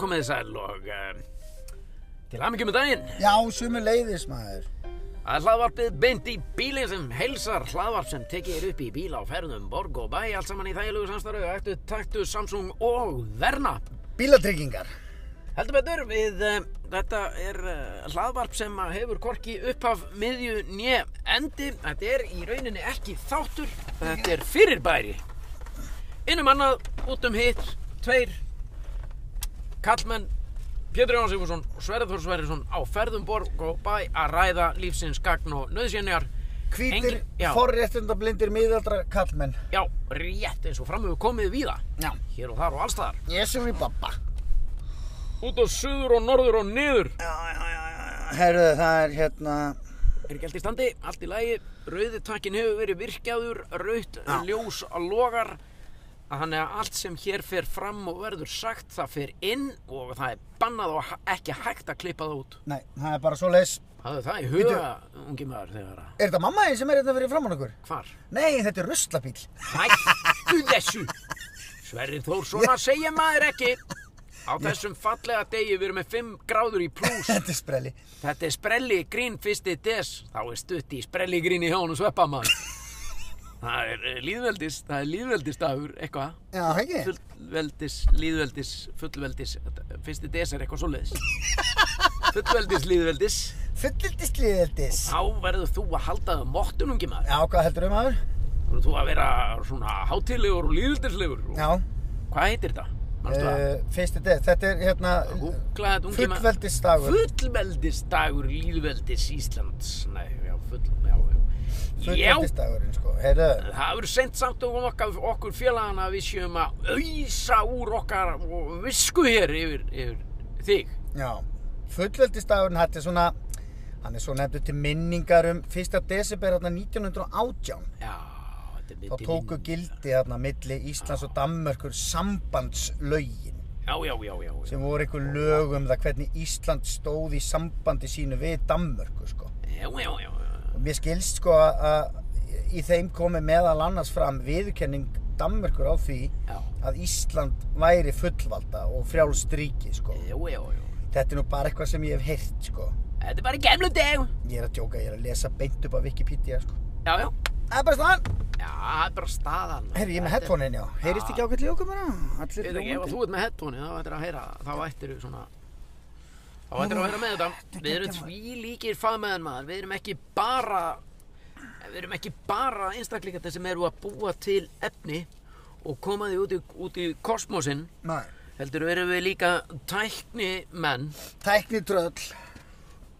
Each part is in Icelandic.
komið þið sæl og uh, til aðmyggjum með daginn. Já, sumu leiðis maður. Það er hlaðvarpið beint í bílinn sem heilsar, hlaðvarp sem tekið er upp í bíla á ferðum, borg og bæ, allt saman í þægilegu samstarfu, ættu, taktu, Samsung og Verna. Bílatryggingar. Heldur betur við, uh, þetta er uh, hlaðvarp sem að hefur korki upphaf miðju nje endi. Þetta er í rauninni ekki þáttur, þetta er fyrirbæri. Innum annað, út um hitt, tveir kallmenn, Pétur Jón Sigfússon og Sverður Sverðursson á ferðum borg og bæ að ræða lífsins gagn og nöðsynjar. Hvítir, Engin- já. forréttindablindir, miðaldra kallmenn. Já, rétt eins og fram hefur komið víða, Já. hér og þar og allstaðar. Jesúri babba. Út og suður og norður og niður. Já, já, já, já. Herðu, það er hérna... Er ekki allt í standi, allt í lagi, rauði takkin hefur verið virkjaður, raut, Já. ljós að logar. Þannig að allt sem hér fer fram og verður sagt, það fer inn og það er bannað og ha- ekki hægt að klippa það út. Nei, það er bara svo leiðis. Hafðu það í huga, ungi maður, þegar að... Er þetta mamma þín sem er hérna fyrir framann okkur? Hvar? Nei, þetta er ruslabíl. Hættu þessu! Sverrir Þór, svona segja maður ekki! Á þessum fallega degi við erum með 5 gráður í plús. þetta er sprelli. Þetta er sprelli grín fyrsti des. Þá er stutt í sprelli grín í hjónu sveppamann. Það er eh, líðveldis, það er líðveldisdagur, eitthvað. Já, ekki? Fullveldis, líðveldis, fullveldis, þetta- fyrsti des er eitthvað svoleiðis. Fullveldis, líðveldis. Fullildist liðildis. Þá verður þú að halda það mottunungi maður. Já, hvað heldur um maður? Þú verður þú að vera svona hátilegur og líðveldislegur. og- Já. Hvað heitir þetta? Manstu það? Uh, fyrsti deg, þetta er hérna Google þetta ungi maður. fullveldisdagur Fullveldisdagur líðveldis Íslands. Nei, já, full, já, já. Já, fullveldisdagurinn sko, heyrðu það hefur sendt samt og okkar, okkur félagana að við séum að auðsa úr okkar og visku hér yfir, yfir þig. já, fullveldisdagurinn þetta er svona hann er svo nefndur til minningar um 1. desember hérna 1918 Já, þetta er mitt þá í tóku minni. gildi hérna milli Íslands og Danmörkur sambandslögin Já, já, já, já. já. sem voru einhver lög um það hvernig Ísland stóð í sambandi sínu við Danmörku sko Já, já, já, já. og mér skilst sko að að í þeim komi meðal annars fram viðurkenning Danmörkur á því Já, að Ísland væri fullvalda og frjálst ríki sko. já, já, já. Þetta er nú bara eitthvað sem ég hef heyrt sko. Þetta er bara gemlu deg. Ég er að djóka, ég er að lesa beint upp á Wikipedia sko. Já, já. Það er bara staðan. Já, það er bara staðan. Herri, ég er Þetta með er- headphone-in já. Heyrist ekki ákveðlega okkur bara? Allir Ég veit ekki, ef að þú ert með headphone þá ættir að heyra, þá ættir þú svona þá ættir að vera með þetta við erum því líkir fagmeðan maður við erum ekki bara við erum ekki bara einstaklingar sem eru að búa til efni og koma því út í, út í kosmosin Nei. heldur erum við líka tækni menn Tækni tröll.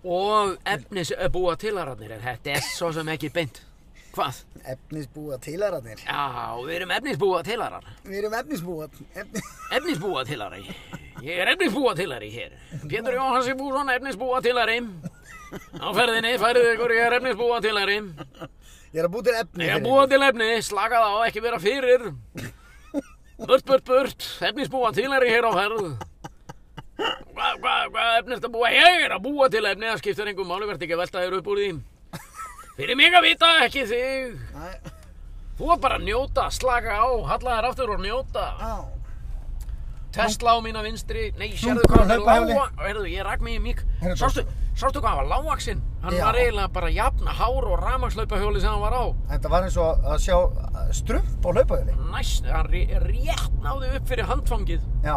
og efnis búa tilararnir en þetta er svo sem ekki beint hvað? Efnisbúa tilararnir. Já, við erum efnisbúa tilarar Við erum efnisbúa. Efni... Efnisbúa tilari. Ég er efnisbúa tilari hér. Pétur Jóhansi Bússon, efnisbúa tilari. Á ferðinni, færið ykkur, ég er efnisbúa tilari. Ég er að búa til efni. Ég er fyrir búa ykkur. til efni, slaka það á, ekki vera fyrir. Burt, burt, burt, efnisbúa tilari hér á ferð. Hvað, hvað, hvað efnist að búa? Ég er að búa til efni, það skiptir engum máli, verð ekki að velta þér upp úr því. Fyrir mig að vita, ekki þig. Nei. Þú er bara að njóta, slaka á, halla þér aftur og njóta. Á. Tesla á mína vinstri, nei, sérðu hvað bara hann hlaupa var hjá lága Heyrðu, ég rak mig í mík Heyrðu, Sástu, sástu hvað hann var lágaksinn Hann Já. var eiginlega bara jafna hár og ramakslaupahjóli sem hann var á Þetta var eins og að sjá uh, strump á hlaupahjöli. Næst, hann ré- rétt náði upp fyrir handfangið Já.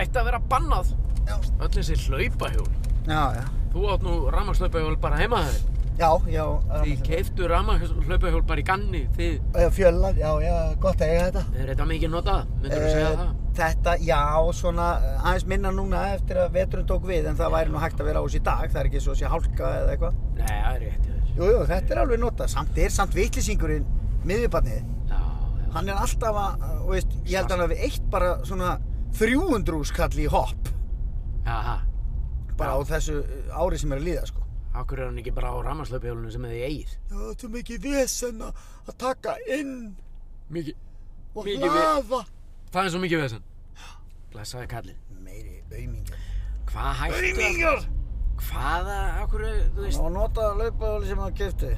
Ætti að vera bannað Já. Öll þessi hlaupahjól Já, já. Þú átt nú ramakslaupahjól bara heima þeir Já, já. Þið keiftu ramakslaupahjól bara í ganni Þið, Fjölan, já, já, gott að eiga þetta. er þetta mikið notað? Myndur þú segja Eh, það? Þetta, já, svona eh, aðeins minna núna eftir að veturinn tók við en það væri nú hægt að vera á þessu í dag, það er ekki svo að sé hálka eða eitthvað. Nei, það er rétt hjá þér. Jú, jú, þetta er alveg notað, samt er samt vitlýsingurinn miðjubarnið, Já, já. hann er alltaf að, eh, þú veist, ég held hann að við eitt bara svona 300 skall í hopp Jaha, bara á þessu eh, ári sem er að líða, sko. akkur er hann ekki bara á ramakslaupahjólunum sem þið eigið? Já, þetta er mikið vesen að taka inn Mikið, og Mikið ve- Það er svo mikið vesen. Blessaði kallinn. Meiri aumingar. Hvað hættu að... Hvaða, okkur, þú veist... Og notaða laupahjóli sem hann kefti.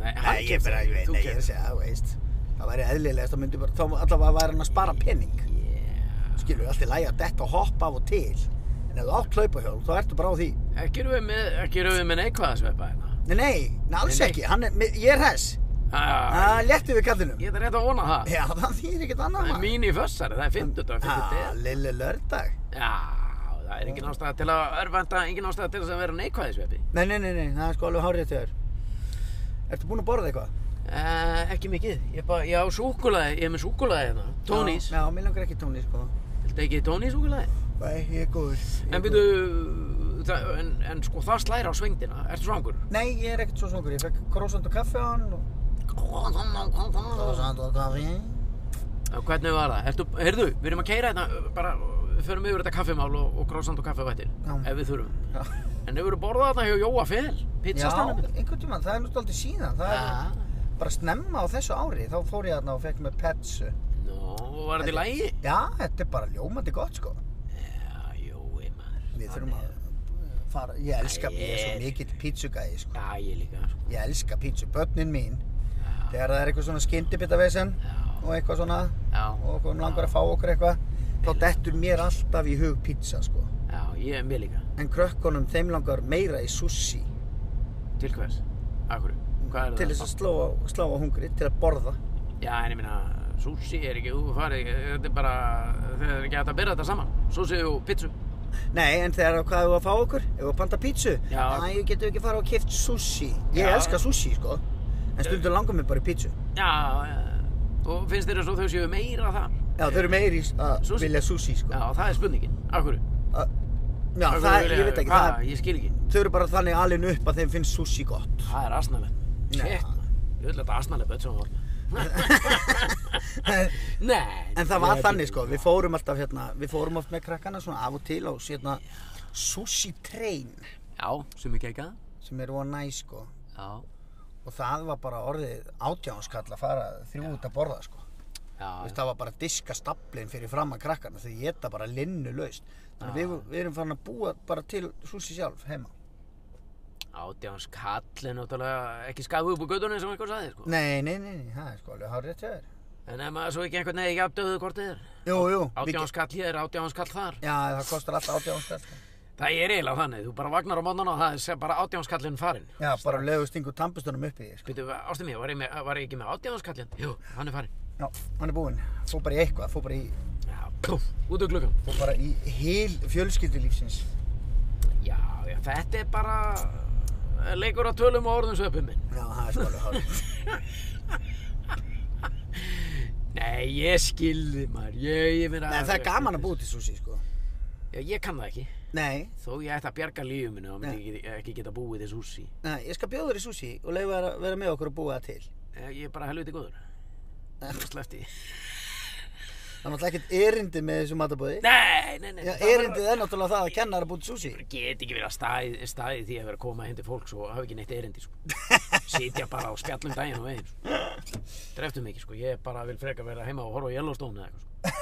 Nei, Nei, ég bara, ég veit, nei, ég er að segja, þú veist Það væri eðlilegast að myndi bara, þá allavega væri hann að spara penning Yeah. skilur, allt er lægi að detta og hoppa af og til en ef þú átt hlaupahjól, þá ertu bara á því Ekki erum við með, ekki erum við með neikvæða sveppa hérna. Nei, nei, nei alls Nei, nei. ekki, hann er, mér- ég er hess Ah, Það léttu við kallinum Ég er rétt að vona það. Já, það þýðir ekkert annað Það er mín í fössari, það er 50 dag, 50 Ah, Lille lördag Já, það er engin ástæða til að örvænta, engin ástæða til þess að vera neikvæði sveppi. Nei, nei, nei, nei, það er sko alveg hárið til þér Ertu búinn að borða eitthvað? Uh, ekki mikið, ég, bara, ég á súkulaði, ég er með súkulaði hérna, tónís. Já, já, mér langar ekki tónís, sko Viltu ekki tónís súkulaði? Nei, ég er góður ég er En góður. byrju, það- en, en sko það slæra á svengdina, ertu svangur? Nei, ég er ekkert svo svongur, ég fekk krósand og kaffi á hann og... Og Krósand og kaffi Hvernig var það? Ertu, heyrðu, við erum að keira þetta, bara við förum yfir þetta kaffimál og, og grósand og kaffevættir, Já. ef við þurfum. Já, En hefur þú borðað þetta hjá Jóa Fel, já pizzastanum? einhvern tímann, það er náttúrulega aldrei síðan Það er bara snemma á þessu ári, þá fór ég þarna og fekk mér petsu Nó, var þetta í lægi? Já, þetta er bara ljómandi gott, sko Já, Jói maður. Við þurfum að fara, ég elska, ég er svo mikill pítsugæði, sko Já, ég líka, sko. Ég elska pítsu, börnin mín Þegar það er eitthvað svona skyndibitavesen Já, og eitthvað svona já, og okkur langar að fá okkur eitthvað þá dettur mér alltaf í hug pizza sko já, ég er mér líka. en krökkunum þeim langar meira í sushi Til hvers? Akkur, hvað er það? til þess að slá, á- slá á hungri, til að borða Já, en ég minna, sushi er ekki, þú farið, þetta er bara, það er ekki hægt að byrja þetta saman. Sushi og pizzu. Nei, en þegar hvað hefur að fá okkur? Hefur að panta pítsu? Já. Æ, ég getur ekki fara og kift sushi Ég Já. elska sushi sko en stundum langar mér bara í pítsu Já, eh, og finnst þér eins og þau séu meira þar? Já, þau eru meiri í s- að Sushi. vilja sushi sko Já, það er spurningin. Akkur, Að- Já, það, ég veit ekki, Hvað, það, ég skil ekki. þau eru bara þannig alin upp að þeim finnst sushi gott Það er asnalegt. Nei. Shit, man. Ég vil að þetta asnalegt börn sem voru. Nei. En það var ég- þannig sko, við fórum alltaf hérna, við fórum oft með krakkana svona af og til á hérna sushi train Já, sem ekki ekki að. sem er von næ sko Já, og það var bara orðið átjánskall að fara þrjú út að borða sko já, Vist, það var bara diska staplin fyrir fram að krakkana þau geta bara linnu laust þannig að við, við erum farin að búa bara til sushi sjálf heima átjáns kall er náttúrulega ekki skafu upp á gödunni sem einhver sagði, sko. Nei, nei, nei, nei, það er sko alveg hárið til þér En ef maður svo ekki einhvern veginn ekki afdöðu hvort þið er. Jú, jú, við Átjáns ge- kall hér, átjáns kall þar. Já, það kostar alltaf átjánskall sko. Það er eiginlega þannig, þú bara vagnar á mótnana og það er sem bara átjánskallin farinn. Já, bara lögu stingu tampustunum upp í því sko. Býtu, ástum ég, var ég, með, var ég ekki með átjánskallin? Jú, hann er farinn. Já, hann er búinn, fór bara í eitthvað, fór bara í Já, púf, út af gluggan. og bara í heil fjölskyldulífsins Já, já, þetta er bara eh, leikur að tölum og orðum söpum minn. Já, það er sko alveg hárið Nei, ég skilði maður, ég, ég meina... En það er gaman að búa til sushi sko Já, ég kann það ekki. Nei, Þó ég ætti að bjarga lífið minni og myndi ekki, ekki geta búið þess húsi. nei, ég skal bjóða þér í sushi og leifa þér að vera með okkur að búa það til Eh, Ég er bara helviti góður. Nei. Slefti. Það er náttúrulega ekkert erindi með þessu matabóði Nei, nei, nei. Já, það var- erindið er náttúrulega það að kenna þér að búa til sushi get ekki verið að staði, staði því að vera að koma hindi fólks og hafa ekki neitt erindi sko. sitja bara á spjallum daginn og veginn sko. dreftum ekki, sko. ég bara vil freka vera heima og horfa á Yellowstone eða eitthvað sko.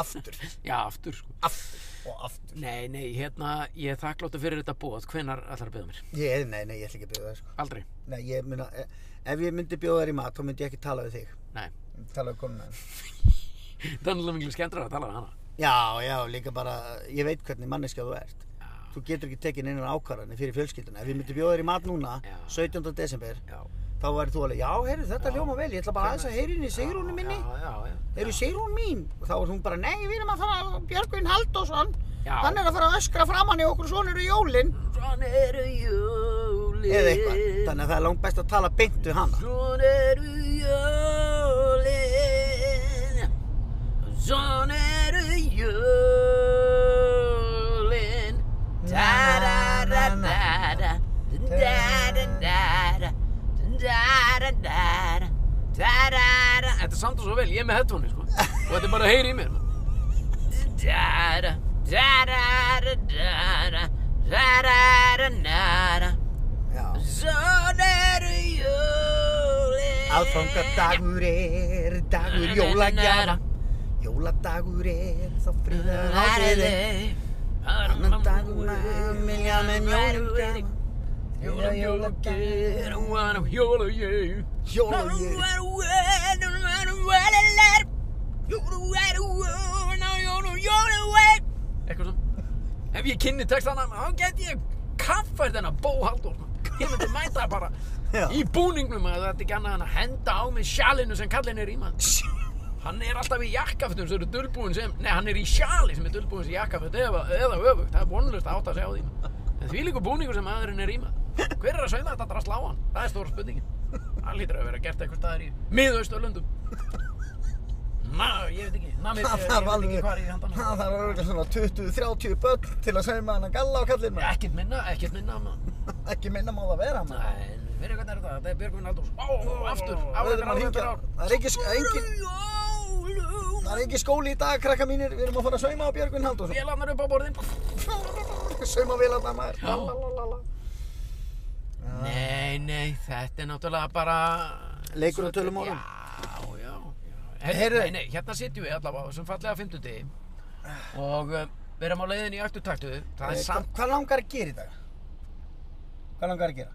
Aftur, já, aftur sko. aftur og aftur nei, nei, hérna, ég er þakkláttu fyrir þetta bóð hvenar ætlar að byrja mér? Ég, nei, nei, ég ætla ekki að bjóða þér sko Aldrei, Nei, ég myna, ef ég myndi bjóða þér í mat þá myndi ég ekki tala við þig nei Tala við konuna þín. það er náttúrulega miklu skemmtur að tala við hana Já, já, líka bara, ég veit hvernig manneska þú ert já, Þú getur ekki tekin innan ákvarðanir fyrir fjölskylduna Ef ég myndi bjóða þér í mat núna, Já. 17. desember já, þá væri þú alveg, já, heyrðu, þetta hljóma vel, ég ætla bara aðeins að heyri henni, Sigrúnu minni, já, já, já, heyrðu, Sigrún mín, og þá er hún bara, nei, við erum að fara að Björgvin Halldórsson, Já. hann er að fara að öskra framann í okkur svonir í jólinn, svona eru jólin eða eitthvað, þannig að það er langt best að tala beint við hana. Svona eru jólin Svona eru jólin Da-da-da-da-da Da-da-da-da Da-da-da-da Da-da-da Þetta er samt og svo vel, ég er með headphone sko og þetta er bara að heyra í mér Da-da Da-da-da-da-da Da-da-da-da-da Já. Svona eru jólin Aðfangadagur er dagur jólagjafa, jóladagur er þá friðar áriðin, annan dagur er milja með jólagjafa, þriðja jólagjafa, Jólagjöf jólagjafa. Jólagjöf ef ég kynni textana þá get ég kaffært hennar Bó Halldórsmann ég myndi mæta bara Já. í búningnum að þetta er ekki annað en að henda á mig sjalinu sem kallin er í maður hann er alltaf í jakkafötum sem eru dulbúin sem nei, hann er í sjali sem er dulbúin sem jakkaföt eða, eða öfugt, það er vonlust að átta að segja á því maður. en því líku búningur sem aðurinn er í maður hver er að sauma þetta drasl á hann? það er stóra spurningin hann lítur að vera gert eitthvað staðar í miðausturlöndum Ná, ég veit ekki, Namibíu, Það ég þarf veit ekki alveg, hvað er í handan það þarf alveg svona 20-30 börn til að sauma hann að galla á kallinn maður. Ekkert minna, ekkert minna maður. Ekki minna má það vera maður. Nei, verið hvernig er þetta? Þetta er Björgvin Aldús Ó, ó, aftur, á Við þetta erum að ár, hringja. þetta ár Það er ekki, engin, það er ekki skóli í dag, krakka mínir. Við erum að fara að sauma á Björgvin Halldórsson. Vélarnar upp á borðin Sauma vel að það maður. Já. Lalalala. Nei, nei, þetta er náttúrulega bara Leikur á tölum orðum. Já, já, já Heyrðu. Heyrðu Nei, nei, hérna sitjum við allavega á þessum fallega fimmtudegi Og uh, við erum á leiðin í öktutaktu Það Eh, er samt, hva- Hvað langar að gera í dag? Hvað langar að gera?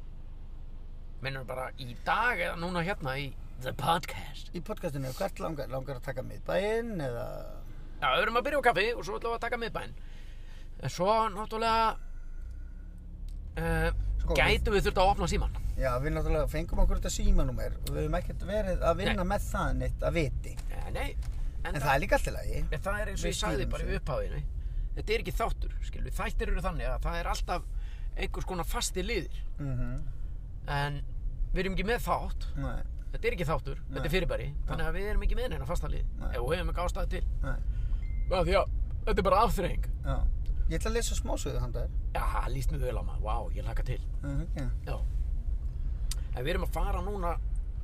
minnum bara í dag eða núna hérna í The Podcast Í podcastinu, hvert langar, langar að taka miðbæinn eða... Já, við erum að byrja á kaffi og svo ætlum við að taka miðbæn En svo, náttúrulega uh, Sko, við- Gætum við þurft að opna síman Já, við náttúrulega fengum okkur þetta símanúmer og við höfum ekkert verið að vinna með það neitt að viti. Eh, Nei, en, En það, það er líka alltaf lagi. en það er eins og við ég sagði stýrum bara í þessu. upphafiðinu Þetta er ekki þáttur, skilvi, þættir eru þannig að það er alltaf einhvers konar fasti liðir Mm En við erum ekki með þátt, Nei, þetta er ekki þáttur, þetta er fyrirbæri Þannig að við erum ekki með hennar fasta lið Nei. Ef við höfum ekki ástæði til nei, að Því að þetta er bara afþreying já. Ég ætla að lesa smásöðu handa þér. Já, líst mig vel á maður, vá, ég laka til Mhm, Já, Já En við erum að fara núna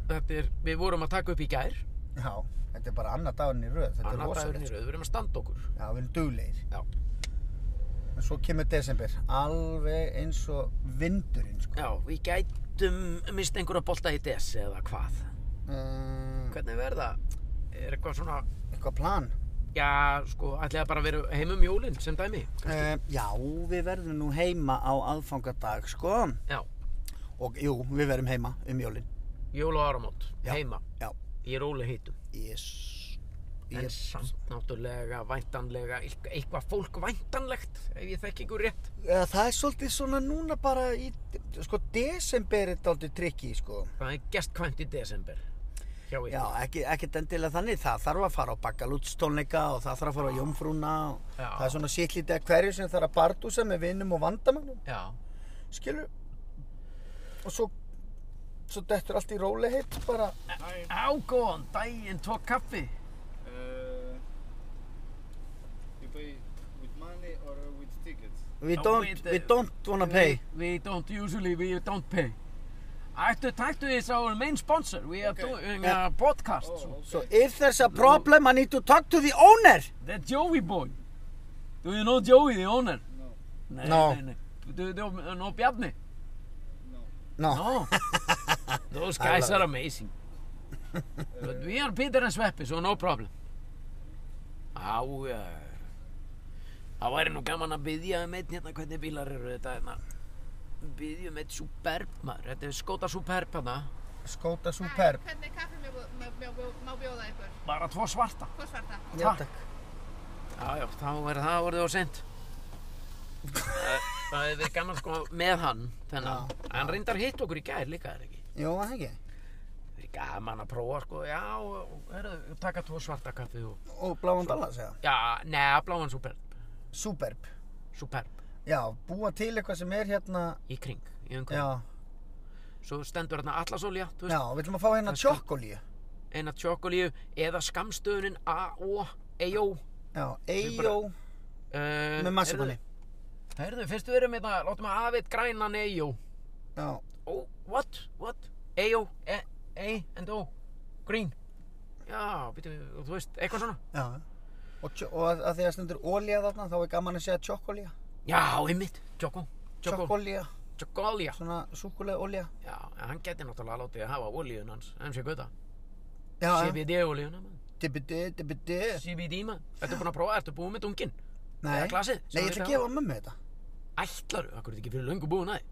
Þetta er, við vorum að taka upp í gær já, þetta er bara annar dagurinn í röð. Þetta Annar er dagurinn í rosalegt. rauð, við erum að standa okkur Já, við erum duglegir. Já, En svo kemur desember, alveg eins og vindurinn, sko. já við gætum mist einhverja bolta í des eða hvað Um, Hvernig verða? Er eitthvað svona eitthvað plan? Já, sko, ætli að bara vera heim um jólin sem dæmi Um, já, við verðum nú heima á aðfangadag, sko. Já, Og jú, við verðum heima um jólinn. jól og áramót, Já. heima Já. Í róli heitum Yes. En samt náttúrulega, væntanlega eitthvað- Eitthvað fólk væntanlegt Ef ég þekki ykkur rétt Eða, Eh, það er svolítið svona núna bara í, sko, desember er dálítið trikki, sko. Það er gestkvæmt í desember Hjá ykkur Já, ekki, ekkert endilega þannig. Það þarf að fara á bakalútstónleika og það þarf að fara á jómfrúna og Já. það er svona sittlítið að hverju sem þarf að bardúsa með vinnum og vandamannum, Já. skilur? Og svo, svo dettur allt í rólehitt bara. Hæ, Á, góðan daginn, tók kaffi. uh, you pay with money or with tickets? We Já, don't, við- we don't wanna pay. We, we don't usually, we don't pay. Ættu taktu is our main sponsor. We are Okay. doing a podcast. Oh, so- okay. So if there's a problem, I need to talk to the owner. The Joey boy. Do you know Joey, the owner? No, Nei, No. nei, nei. Do you know, know Bjarni? no. No. No. Those I guys love are amazing. But we are Peter and Sveppi, so no problem. Á, uh, það væri nú gaman að byðja um einn hérna, hvernig bílar eru þetta hérna? Byðja um einn superb, maður, þetta er skóta superb hérna. Skóta superb. Hvernig kaffi má bjó- má bjó- má bjóða ykkur? Bara tvo svarta. Hvað svarta? Já, Takk. takk. Já, já, þá er það orðið og sent. það hefur verið gaman sko með hann, þennan. Hann reyndar hitt okkur í gær líka, er ekki? Jó, það ekki. Það er gaman að prófa sko, já, herru, taka tvo svarta kaffi og... Og bláan dalla, segja. Já, neða, bláan superb. Superb. Superb. Já, búa til eitthvað sem er hérna, Í kring, í umhverjum. já, Svo stendur hérna allasolja, þú já, veist, við ætlum að fá hérna Það skal- tjokkolíu. eina tjókolíu eða skamstöðunin A.O. E.O. Já, Við Eyjó bara- E Uh, með massimanni. Herðu, fyrst við erum með það, láttum að afið grænan E E.O. Já, Ó, what, what? E.O. E, e and O. Green. Já, býtum við, þú veist, eitthvað svona. já. Og, tjo- og að, að því að stendur ólíja þarna, þá er gaman að segja tjokkolíja. Já, einmitt, tjókó. Tjókó. Tjokkolíja, Tjókólja. svona súkulega ólíja. Já, en hann geti náttúrulega látið að hafa olíun hans, MC Guða. Já, já. CBD-olíuna, mann. Dibidi, dibidi. CBD maður, ertu búin að prófa, ertu búin með dungin Nei, eða glasið, nei, sem við ég ætla að þetta gefa mömmu þetta. Ætlaru, akkur er þetta ekki fyrir löngu búin að þið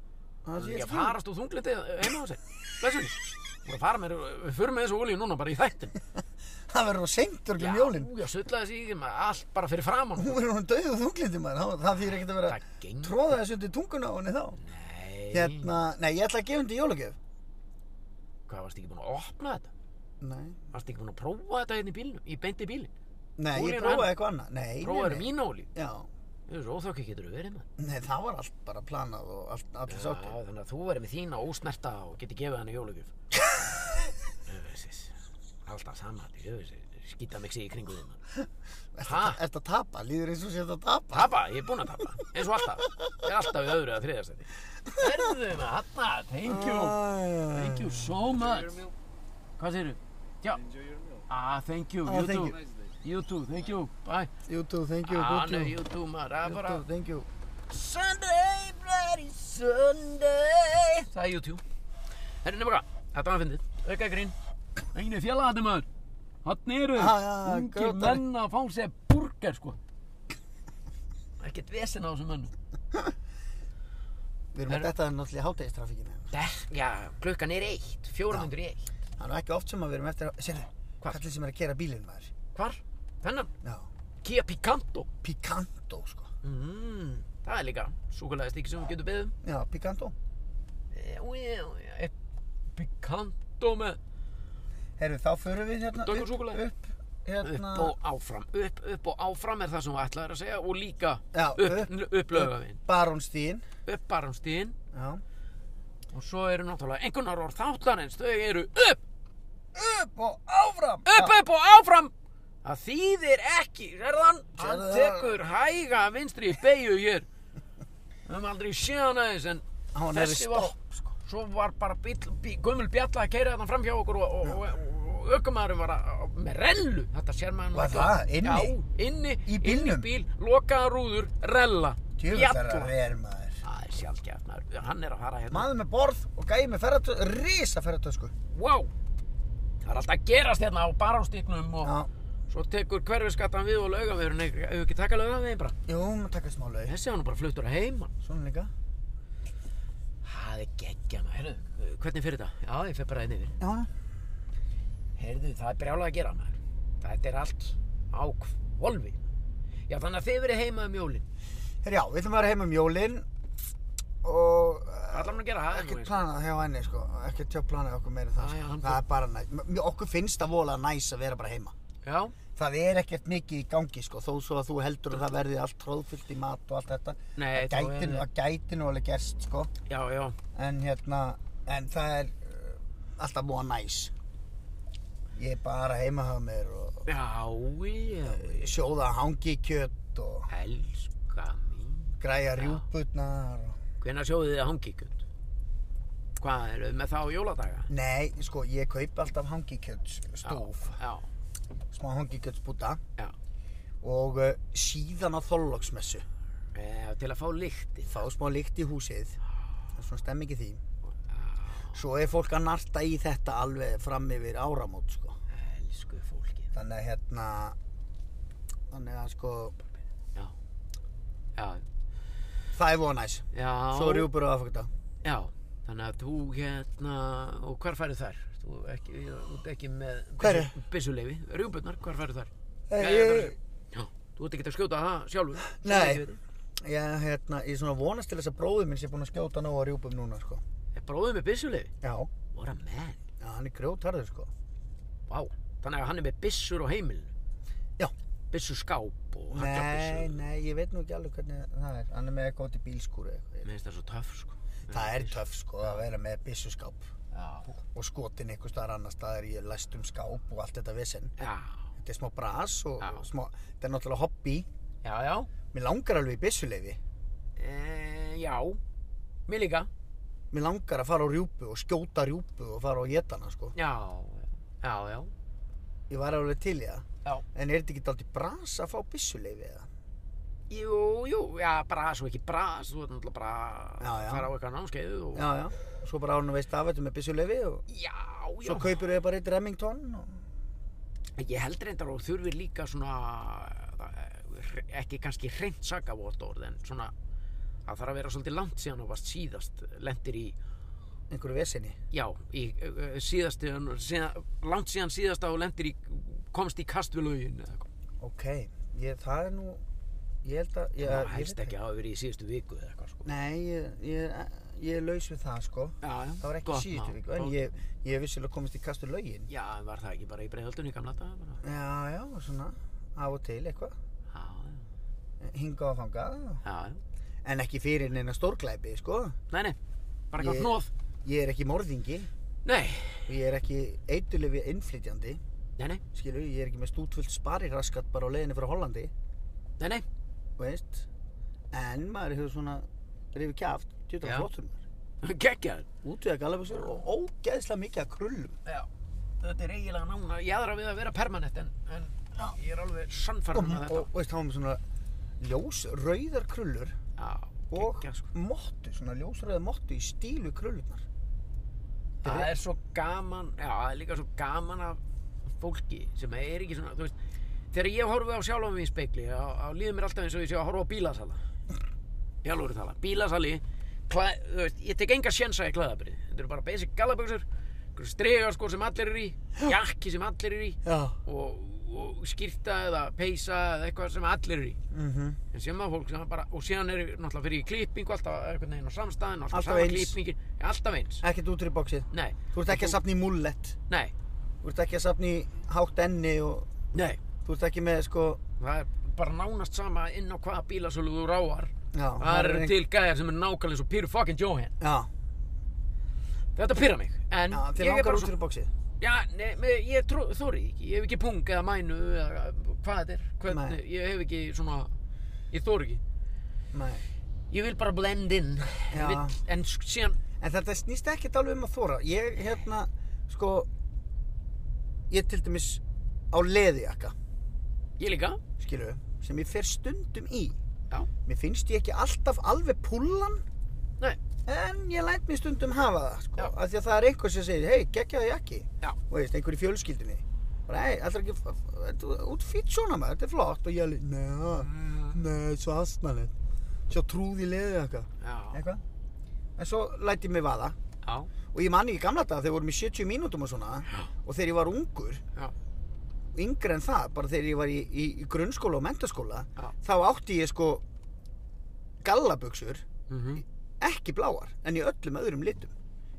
Það Það er sé ég ekki að skil. farast úr þunglindi heima á sig Blessunni, þú voru að fara með, við förum með þessu olíu núna bara í þættin það verður á seint örglum jólin já, sullaði sig í þeim, allt bara fyrir framann hún er hún dauð og þunglindi maður það- það þýr ekkert að vera Það gengur. tróða þessu undir tunguna á henni þá Nei, hérna, nei ég ætla að gefa hundi jólagjöf hvað varst ekki búin að opna þetta? nei, Varst ekki búin að prófa þetta hérna í bílnum, í beinti bílinn? nei Hún ég er prófaði annað. eitthvað annað nei, nei, Prófaður nei. mín ólíf? Já, Þú veist, óþokki getur verið maður. nei, það var allt bara planað og allt, allir Já, sáttir þannig að þú verður með þína ósnerta og getur gefið henni jólugjöf. Öfessis. Alltaf sama, öfessis. Skýta mig sig í kringu þig maður. Ertu Ha? ertu að tapa? Líður eins og sé að tapa? Tapa, ég er búinn að tapa. Eins og alltaf. Ég er alltaf í öðru að þriðastætti. Verðu maður, hanna, thank you. Thank you so Enjoy your much. meal. Hvað segirðu? Já, Enjoy your meal. ah, thank you, Ah, you thank too. you. Nice day. You too, thank you, bye. YouTube, thank you, Ah, good no, you. you too maður, það er bara... YouTube, thank you Sunday, bloody Sunday Það er YouTube Herri, nefnir hvað, þetta var að fyndið Ökka grín Engin er fjallaðandi maður Hann eru Já, já, já, ungir grjótari. menn að fá sér burger sko Ekkert vesen á þessum mönnum Við erum að Herru. detta þeim náttúrulega í hátegistrafíkinu Der, já, klukkan er eitt, fjóra myndur í eitt Það er nú ekki oft sem að við erum eftir að Sérðu, Hvað? kallið sem er að gera bílinn maður Hvar? Þennan? Já, Kia Picanto Picanto sko mm, Það er líka súkulega stík sem við getum um. beðum Já, Picanto Eitt Picanto með Herru, þá förum við hérna Dökkur upp- súkkulaði. Upp, hérna upp og áfram, upp, upp og áfram er það sem þú ætlaðir að segja og líka Já, upp, upp- upp laugavinn, Barónstíðin upp barumstíðin Já og svo eru náttúrulega einhvernar orð þáttar en þau eru upp, Upp og áfram upp, upp og áfram það þýðir ekki, sérðan hann Sérðu það? tekur hæga vinstri í beigju hér við höfum aldrei séð hann aðeins en Hann var nærri þessi var, stopp sko svo var bara bíl, bí, gömul bjalla að keira þarna fram hjá okkur og, og, og, og ökumæðurinn var að, að- með rellu þetta sér maður nú Var ekki það? oft. Inni? Já, inni, Í inni bílnum? bíl, lokaða rúður, rella Djöfull er að bjalla vera maður það er sjálfgeft maður, hann er að fara hérna Maður með borð og gæði með ferðartöð Rísa ferðartöð wow. það er alltaf að gerast hérna á baránstíknum og Já svo tekur hverfiskattan við og laugavegurinn hefur ekki taka laugaveginn bara Jú, maður taka smá laug þessi hann er bara fluttur að heima Svona líka það er geggja maður, Heyrðu, hvernig fyrir þetta? já, ég fer bara einn yfir Já Heyrðu, það er brjálað að gera maður. Þetta er allt á kvolvi. Já, þannig að þið verið heima um jólin. Herru, já, við ætlum að vera heim um jólin Og eh, Það ætlar hann að gera það. ekkert planað hjá henni sko ekkert hjá planað hjá okkur meira en Æ, það sko. hann- það er bara næst M- okkur finnst það vola næs að vera bara heima Já, það er ekkert mikið í gangi sko þó svo að þú heldur að það verði allt tróðfyllt í mat og allt þetta Nei, það þá gæti, er- það gæti nú alveg gerst sko já, já. en hérna en það er uh, alltaf vola næs ég er bara heima hjá mér og Já, já. sjóða hangi kjött og Elska mín. græja Já. rjúpurnar og... Hvenær sjóðu þið að hangi kjöld? Hvað, eruð þið með það á jóladaga? nei sko ég kaup alltaf hangi stóf Já, smá hangi já. já. og uh, síðan á þorlóksmessu E, til að fá lykti. fá smá lykt í húsið það er svona stemming í því svo er fólk að narta í þetta alveg fram yfir áramót sko. Elsku fólkið. þannig að hérna þannig að sko Já. Já, það er voða næs já. svo er rjúpur á aðfokta Já, þannig að þú hérna, og hvar færðu þar? Þú ekki, þú ert ekki með Hverju? byssuleifi, rjúbunnar, hvar færðu þar? Eh, Jæja, ég- bara- Já, þú ert ekki að skjóta það sjálfur. svo Nei. ég veit. ég hérna ég svona vonast til þess að bróður minn sé búinn að skjóta nóg á rjúpum núna sko Er bróðið með byssuleifi? já, What a man. já hann er grjótarður sko Vá, þannig að hann er með byssur á heimilinu. Já. Byssuskáp og nei, haglabyssu. nei, ég veit nú ekki alveg hvernig það er hann er með eitthvað út í bílskúri eitthvað. Mér finnst það svo töff, sko. það er töff sko að vera með byssuskáp Já. og skotin einhver staðar annar staðar í læstum skáp og allt þetta vesen. Já, Þetta er smá bras og Já. smá, þetta er náttúrulega hobby. já, já. Mér langar alveg í byssuleifi. E, já, mér líka. Mér langar að fara á rjúpu og skjóta rjúpu og fara á jetana sko. Já, já, já, Ég var alveg til í það. já. En er þetta ekki alltaf bras að fá byssuleifi eða? Jú, jú, já, bras og ekki bras, þú ert náttúrulega bara Já, já. að fara á eitthvað námskeið og... Já, já. Svo bara ánum veist af þetta með byssuleifi og Já, já. svo kaupir þau bara eitt Remington og... Ég held reyndar og þurfir líka svona, eh, ekki kannski hreint sakavottorð, en svona, það þarf að vera svolítið langt síðan og varst síðast, lendir í, einhverju vesenni. já, í eh, eh, síðast, síðan, langt síðan síðast og lendir í komst í kast við lögin eða eitthvað. Ok, ég, það er nú, ég held að, ég, Það ég helst veit ekki að hafa verið í síðustu viku eða eitthvað sko. Nei, ég, ég, ég er laus við það sko. Já, já. Það var ekki Gott síðustu mál, viku, en gott. ég, ég hef vissulega komist í kastu lögin. Já, en var það ekki bara í breiðhaldunni í gamla dag? Bara? Já, já, svona, af og til eitthvað. Já, já, Hingað að fangað. já. já. En ekki fyrir neina stórglæpi, sko. Nei, nei, bara eitthvað Ég- hnóð. Ég er ekki morðingi, Nei, og ég er ekki eitulifi innflytjandi, nei, nei, skilur, ég er ekki með stútvöld spariraskat bara á leiðinni frá Hollandi, nei, nei. veist. En maður hefur svona rifið kjaft, tjóta Já. flottur maður. Gekkjaður. Útveða galabusur og ógeðslega mikið að krullum. Já, þetta er eiginlega nána jæðra við að vera permanent en, en ég er alveg sannfærum með og, þetta. og veist, þá erum við svona ljósrauðar krullur já, og geggjað, sko. mottu, svona ljósrauða mottu í stílu krullunar. Það er svo gaman, já, það er líka svo gaman af fólki sem er ekki svona, þú veist, þegar ég horfi á sjálfum mig í spekli, þá þá líður mér alltaf eins og ég sé að horfa á bílasala. Ég alveg tala, bílasali, kla, þú veist, ég tek enga sjensa í klæðabrið. Þetta eru bara basic galaböksur, stregar sko sem allir eru í, jakki sem allir eru í Já. og, og skýrta eða peysa eða eitthvað sem allir eru í. Mm en sem að fólk sem að bara og síðan er náttúrulega fyrir í klippingu alltaf einhvern veginn á samstæðin alltaf, Alltaf alltaf sama eins. klippingin ja, alltaf eins Ekkert út úr í bóksið. nei, Þú ert ekki að safna í mullet. nei, Þú ert ekki að safna í hátt enni og nei þú ert ekki með sko... það er bara nánast sama inn á hvaða bílasölu þú ráar Já, það eru ein- til gæðar sem er nákvæmlega eins og Peter fucking Johan Já, þetta pyrra mig en já þið Mm, ég er langar bara út úr í bóksið. já, nei, með, ég trú, þóri því ekki ég hef ekki pung eða mænu eða hvað þetta er hvernig, ég hef ekki svona ég þóri ekki Nei. ég vil bara blend in Já. Vil- en sk- síðan En þetta snýst ekkert alveg um að þóra. Ég, hérna, sko... Ég til dæmis á leðijakka, ég líka skilu, sem ég fer stundum í. já, Mér finnst ég ekki alltaf alveg púllan nei, En ég læt mér stundum hafa það, sko, Já. af því að það er einhver sem segir, hei, geggjaði jakki, Já. og veist, einhver í fjölskyldinni, bara, hei, allra ekki, f- f- þetta er út fýtt svona maður, þetta er flott, og ég alveg, Mm-hmm. neða, neða, svo aðsnalegt, svo trúði leðið eitthvað, já, eitthvað, en svo læt ég mig vaða, já og ég manni í gamla dag þegar við vorum í 70 mínútum og svona, og þegar ég var ungur, Já. yngri en það, bara þegar ég var í, í, í grunnskóla og mentaskóla, Já. þá átti ég sko gallabuxur, Mhm. ekki bláar en í öllum öðrum litum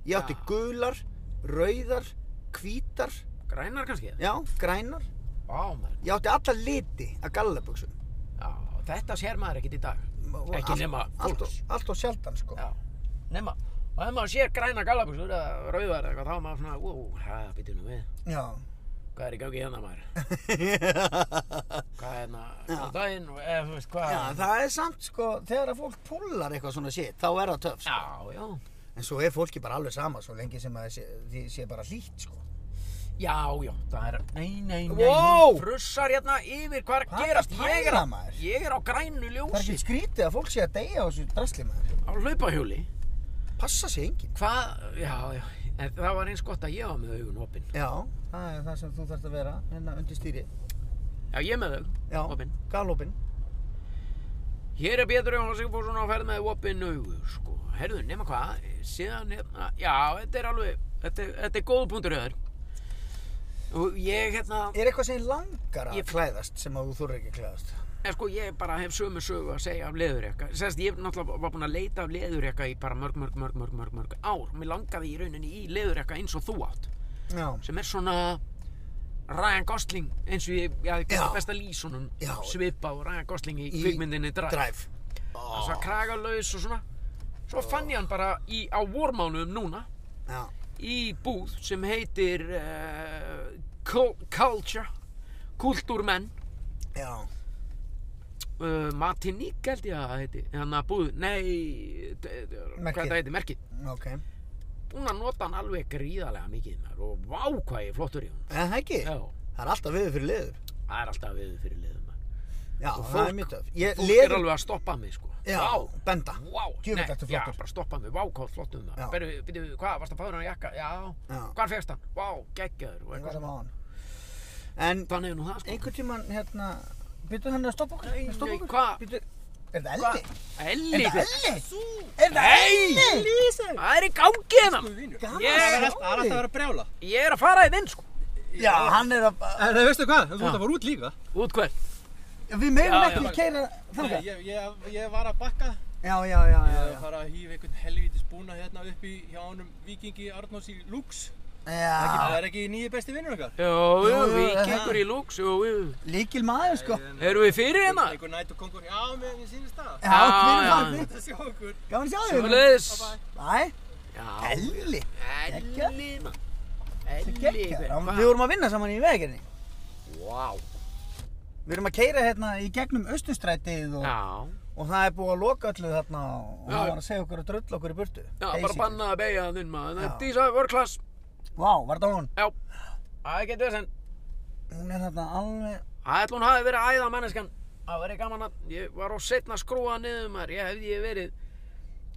ég átti Já. gular, rauðar hvítar, Grænar kannski? já, grænar Vá, maður. ég átti alla liti að gallabuxum Já, þetta sér maður ekkert í dag. Og Ekki allt- nema allt, fólks. og- allt og sjaldan sko Já, nema. Og ef maður sér græna galabuxur eða rauðar eða eitthvað, þá er maður svona, ú, hæ, býtu nú við. já. Hvað er í gangi hérna maður? Hvað er hérna, hvað er daginn og eða, þú veist, hvað já, það er samt sko þegar að fólk púlar eitthvað svona shit þá er það töff sko. Já, já. en svo er fólki bara alveg sama svo lengi sem að sé, því sé bara hlýtt sko Já, já, það er, nei, nei, nei, Wow! hún frussar hérna yfir, hvað er Hvað að er gerast? að Ég er, pæla, á- maður? ég er á grænu það er ekki ljósi, skrítið að fólk sé að deyja á þessu drasli maður á hlaupahjóli. passa sig enginn Hvað, já, já, en það var eins gott að ég var með augun opinn. já, það er það sem þú þarft að vera hérna undir stýri Já, ég með þau, já, opinn. galopin Hér er Pétur Jóhann Sigfússon á ferð með opinn augu, sko. Herðu, nema hvað, síðan, hérna, já, þetta er alveg, þetta, er- þetta er góð punktur öður. Og ég, hérna, Er eitthvað sem þig langar að Ég- klæðast sem að þú þurfir ekki að klæðast? en sko, ég bara hef sömu sögu að segja af leðurjaka. Sérst, ég náttúrulega var búin að leita af leðurjaka í bara mörg, mörg, mörg, mörg, mörg, mörg ár. Mér langaði í rauninni í leðurjaka eins og þú átt, Já. sem er svona Ryan Gosling, eins og ég, já, ég Já. kannski best að lýsa honum Já. svipa á Ryan Gosling í, kvikmyndinni Drive. Drive. Það er svona kragalaus og svona. Svo fann ég hann bara í, á vormánuðum núna Já. í búð sem heitir uh, Culture, Kultúrmenn, Já. uh, Matiník held ég að það heiti, þannig að búð, nei, d- d- Merkið. hvað þetta heiti, merkið. Ok. Búin að nota hann alveg gríðarlega mikið maður og vá hvað ég er flottur í hún. En það ekki? Já, Það er alltaf viður fyrir leður. það er alltaf við fyrir liðum maður. Já, Og það fólk- er mjög töf. Fólk Ég, er leður, alveg að stoppa mig sko. já, Vá. benda. Vá, Djöfull ertu já, flottur. bara stoppa mig, vá, hvað flottum Já. það Berðu, byrju, hvað, varst að fáður hann jakka? Já, Já. hvar fegst hann? Vá, geggjaður og Eitthvað eitthvað sem á hann. En Þannig er nú það, sko einhvern tíman, hérna, byrjuðu hann að stoppa okkur? Nei, stoppa nei, okkur? hvað? Bíddu, er það eldi? Elli, Er það hvað- eldi? Er það Nei! eldi? Lísa! hvað er í gangi hérna? Gaman Ég- Það að er sjá þig. Ég er að fara þið inn, sko Já, hann er að... En það Eh, veistu hvað, þú ert Já. að fara út líka. Út hvert? Við meðum Já, ekki já. keira Nei, þangað. ég, ég, ég var að bakka. Já, já, já, Ég já, var að já. fara að hýfa einhvern helvítis búna hérna upp í hjá honum vikingi Arnórs í Lux. Það Já, er ekki nýji besti vinnur okkar. Jú, jú, Jú, jú, vikingur í lúks, jú, jú. líkil maður, sko. Erum við fyrir hérna? Einhver nætt og kongur. Já, mér mér sýnist það. Já, fyrir já, farni. Það sjá okkur. Gaman að sjá þig. Sjóleðis. Æ, Já. Elli. Elli, mann. Gekkjaður. Hann- Við vorum að vinna saman í vegagerni. Vá. Við erum að keira hérna í gegnum austurstrætið og, Já. og það er búið að loka öllu þarna Já. og hann var að segja okkur að drull okkur í burtu. Já, bara basically. bannað að beigja þinn maður. Já. Dísa, world class. Vá, var þetta hún? Já. Það getur þess en. Hún er þarna alveg... Það ætla hún hafi verið æða menneskan. Það verið gaman að ég var á setna að skrúa niður maður. Ég hefði ég verið,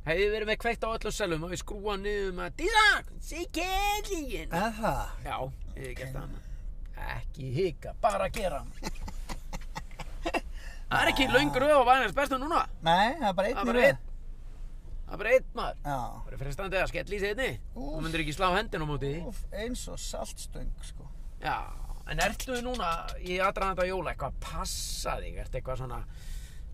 hefði ég verið með kveikt á öllum selum og ég skrúa niður maður. Dísa, sé kellingin. Eða það? Já, ég hef gert það annað. Ekki hika, bara gera. Það er ekki löngur auð á vænast bestu núna. Nei, það er bara Það er einn í bara röð. einn. Það er bara einn maður. Já. Það er frestandi að skella í sig einni. Úff. Þú myndir ekki slá hendin á móti því. Úf, eins og saltstöng, sko. Já, en ertu núna í aðdraðanda jóla eitthvað að passa þig? Ertu eitthvað svona,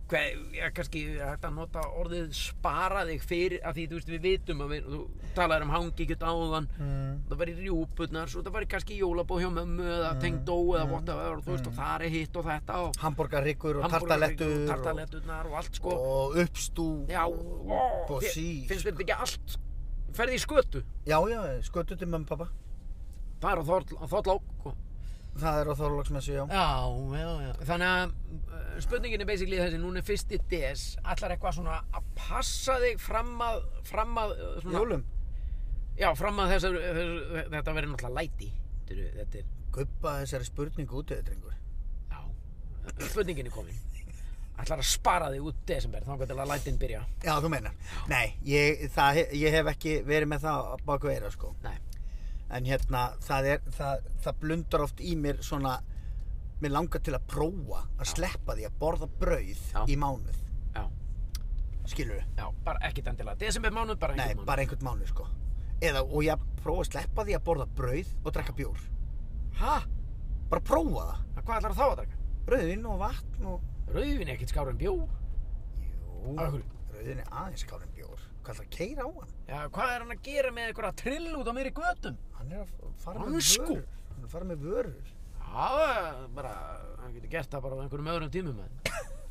hvað, ég kannski hægt að nota orðið spara þig fyrir, af því þú veist við vitum að við, þú talar um hangi ekkert áðan, Mm. það var í rjúpurnar, svo það var í kannski jólabóð hjá mömmu eða tengdó eða mm. whatever, þú veist, og það er hitt og þetta og Hamburgarryggur og hamborgarryggur tartalettur og og, tartaletturnar og allt sko. og uppstú Já, og ó, bosí. fi- finnst mér þetta ekki allt, ferði í skötu, Já, já, skötu til mömmu pappa. það er á Þorl- á Þorlák sko. og Það er á Þorlóksmessu, já. Já, já, já. Þannig að uh, spurningin er basically þessi, núna er fyrsti DS, ætlar eitthvað svona að passa þig fram að, fram að, uh, svona, Jólum. Já, fram að þessar, þessar þetta verður náttúrulega læti, þetta er, þetta er, Guppa þessari spurningu út eða, drengur. já, spurningin er komin. Ætlar að spara þig út desember, þá til að lætin byrja. Já, þú meinar. Nei, ég, það, he- ég hef ekki verið með það á baku eira, sko. Nei. En hérna, það, er, það, það blundar oft í mér svona, mér langar til að prófa að sleppa því að borða brauð Já. í mánuð. Já, Skilur við? já, bara ekkit endilega, desember mánuð, bara Nei, einhvern mánuð. bara einhvern mánuð, sko. Eða, og ég prófa að sleppa því að borða brauð og drekka bjór. Hæ? Bara prófa það. Hvað ætlar þá að draka? Brauðin og vatn og... Rauðin er ekkit skár en bjó. Jú, Af hverju? brauðin er aðeins skárið bjór. Hvað ætlar að keira á hann? Já, hvað er hann að gera með einhverja trill út á mér í götum? Hann er að fara með Hann sko. vörur. Hann er að fara með vörur. Já, bara, hann getur gert það bara á einhverjum öðrum tímum með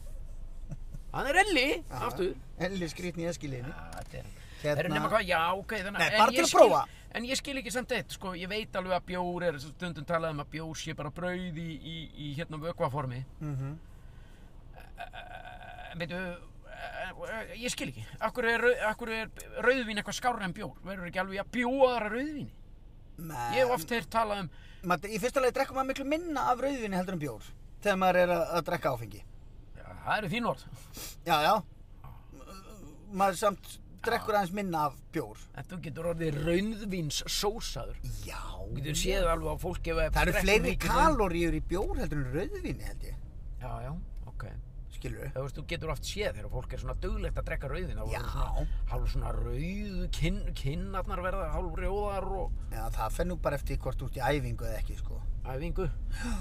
Hann er elli, Já. aftur Elli skrýtni í eskilinni. Það er Hérna- hérna. nema hvað, já, ok þannig, Nei, en bara ég til að skil- prófa. En ég skil ekki samt eitt, sko, ég veit alveg að bjór er stundum talað um að bjór sé bara brauð í, í, í hérna vökvaformi Mhm. En veitu, eh, ég skil ekki Akkur er, rau- af hverju er rauðvín eitthvað skárra en bjór Verður ekki alveg að bjóðara rauðvíni Nei, Ég hef oft heyrt talað um maður, í fyrsta lagi drekkur maður miklu minna af rauðvinni heldur en bjór þegar maður er að, að drekka áfengi já, Það eru þín orð já, já maður samt drekkur aðeins minna af bjór En þú getur orðið rauðvíns sósaður já, Þú getur séð alveg á fólki ef það eru drekkur fleiri mikið raun- kaloríur í bjór heldur en rauðvinni held ég Já, já, ok skilur Þú veist, þú getur oft séð þegar fólk er svona duglegt að drekka rauðin þá Já. verður svona, hálf svona rauðu kinn, kinnarnar verða hálf rjóðar og já, það fennur bara eftir hvort þú ert í æfingu eða ekki sko æfingu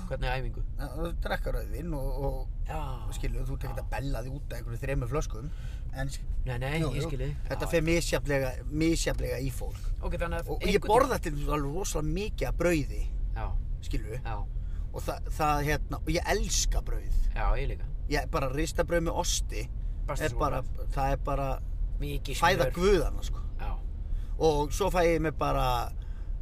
Hvernig er æfingu? Já, þú drekkar rauðvinn og, og Já, skilur, þú tekit að bella því út af einhverju þremur flöskum en Nei, nei, jú, ég jú, skilji þetta fer misjaflega, misjaflega í fólk Ok, þannig að og, og einhvern ég tímann- borða til dæmis alveg rosalega mikið af brauði Já, skilur já, og það, það hérna, og ég elska brauð já, ég líka ég bara rista brauð með osti Basta er súrál. bara, það er bara Mikið fæða smjör. guðana sko. Já, og svo fæ ég mig bara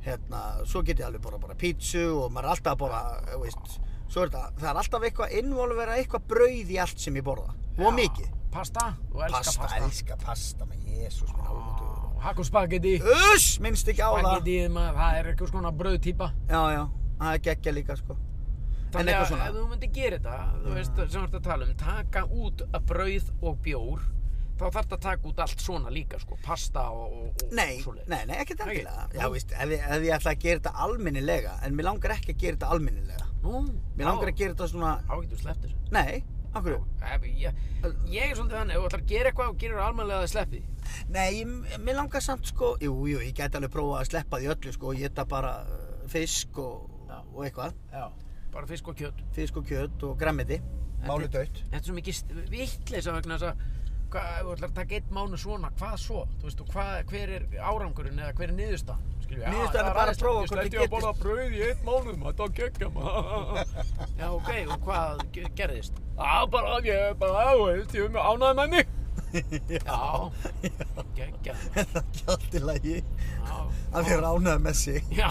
hérna, svo get ég alveg bara, bara pítsu og maður er alltaf bara þú veist, svo er það, það er alltaf eitthvað involvera eitthvað brauð í allt sem ég borða og Já. mikið Pasta, þú elskar pasta, pasta, pasta. elska pasta með jésús minn alveg Hakkuspagetti Uss, minnst ekki á það Spagetti, maður, það er eitthvað svona brauðtýpa Já, já, það er geggja líka sko En Þannig eitthvað að ef svona Mm. þú myndir gera þetta, þú veist sem þú ert að tala um, taka út að brauð og bjór, þá þarf þetta að taka út allt svona líka, sko, pasta og, og, og Nei, svoleiðis. nei, nei, ekkert Ekki? endilega Já, veist, ef, ég- ef ég ætla að gera þetta almennilega En mér langar ekki að gera þetta almennilega Nú, Mér langar að gera þetta svona Þá getur þú sleppt þessu. Nei, af hverju? Ef- Ég, ég er svolítið þannig, ef þú ætlar að gera eitthvað og gerir þú almennilega að sleppi. því. Nei, ég- mér langar samt sko Jú, jú, ég gæti alveg prófa að sleppa því öllu sko Ég geta bara uh, fisk og, Já. og eitthvað, Já, bara fisk og kjött. fisk og kjöt og grammiti. Þetta- Máli dött. Þetta er svo mikið vitleisa vegna þess að hvað, ef þú ætlar að taka einn mánu svona, hvað svo? Þú veist, og hvað, hver er árangurinn eða hver er niðurstaðan? Skilju, já, Niðurstaðan það er bara að aðeins- prófa ég hvort sleppti þið að borða- brauð í eitt mánuð maður, þetta var geggja maður. Já, ok, og hvað ge- gerðist? Já, bara, ég, bara, þú veist, ég er mjög ánæðið með mig. Já, geggja, það er ekki allt í lagi já, að vera ánægð með sig. já,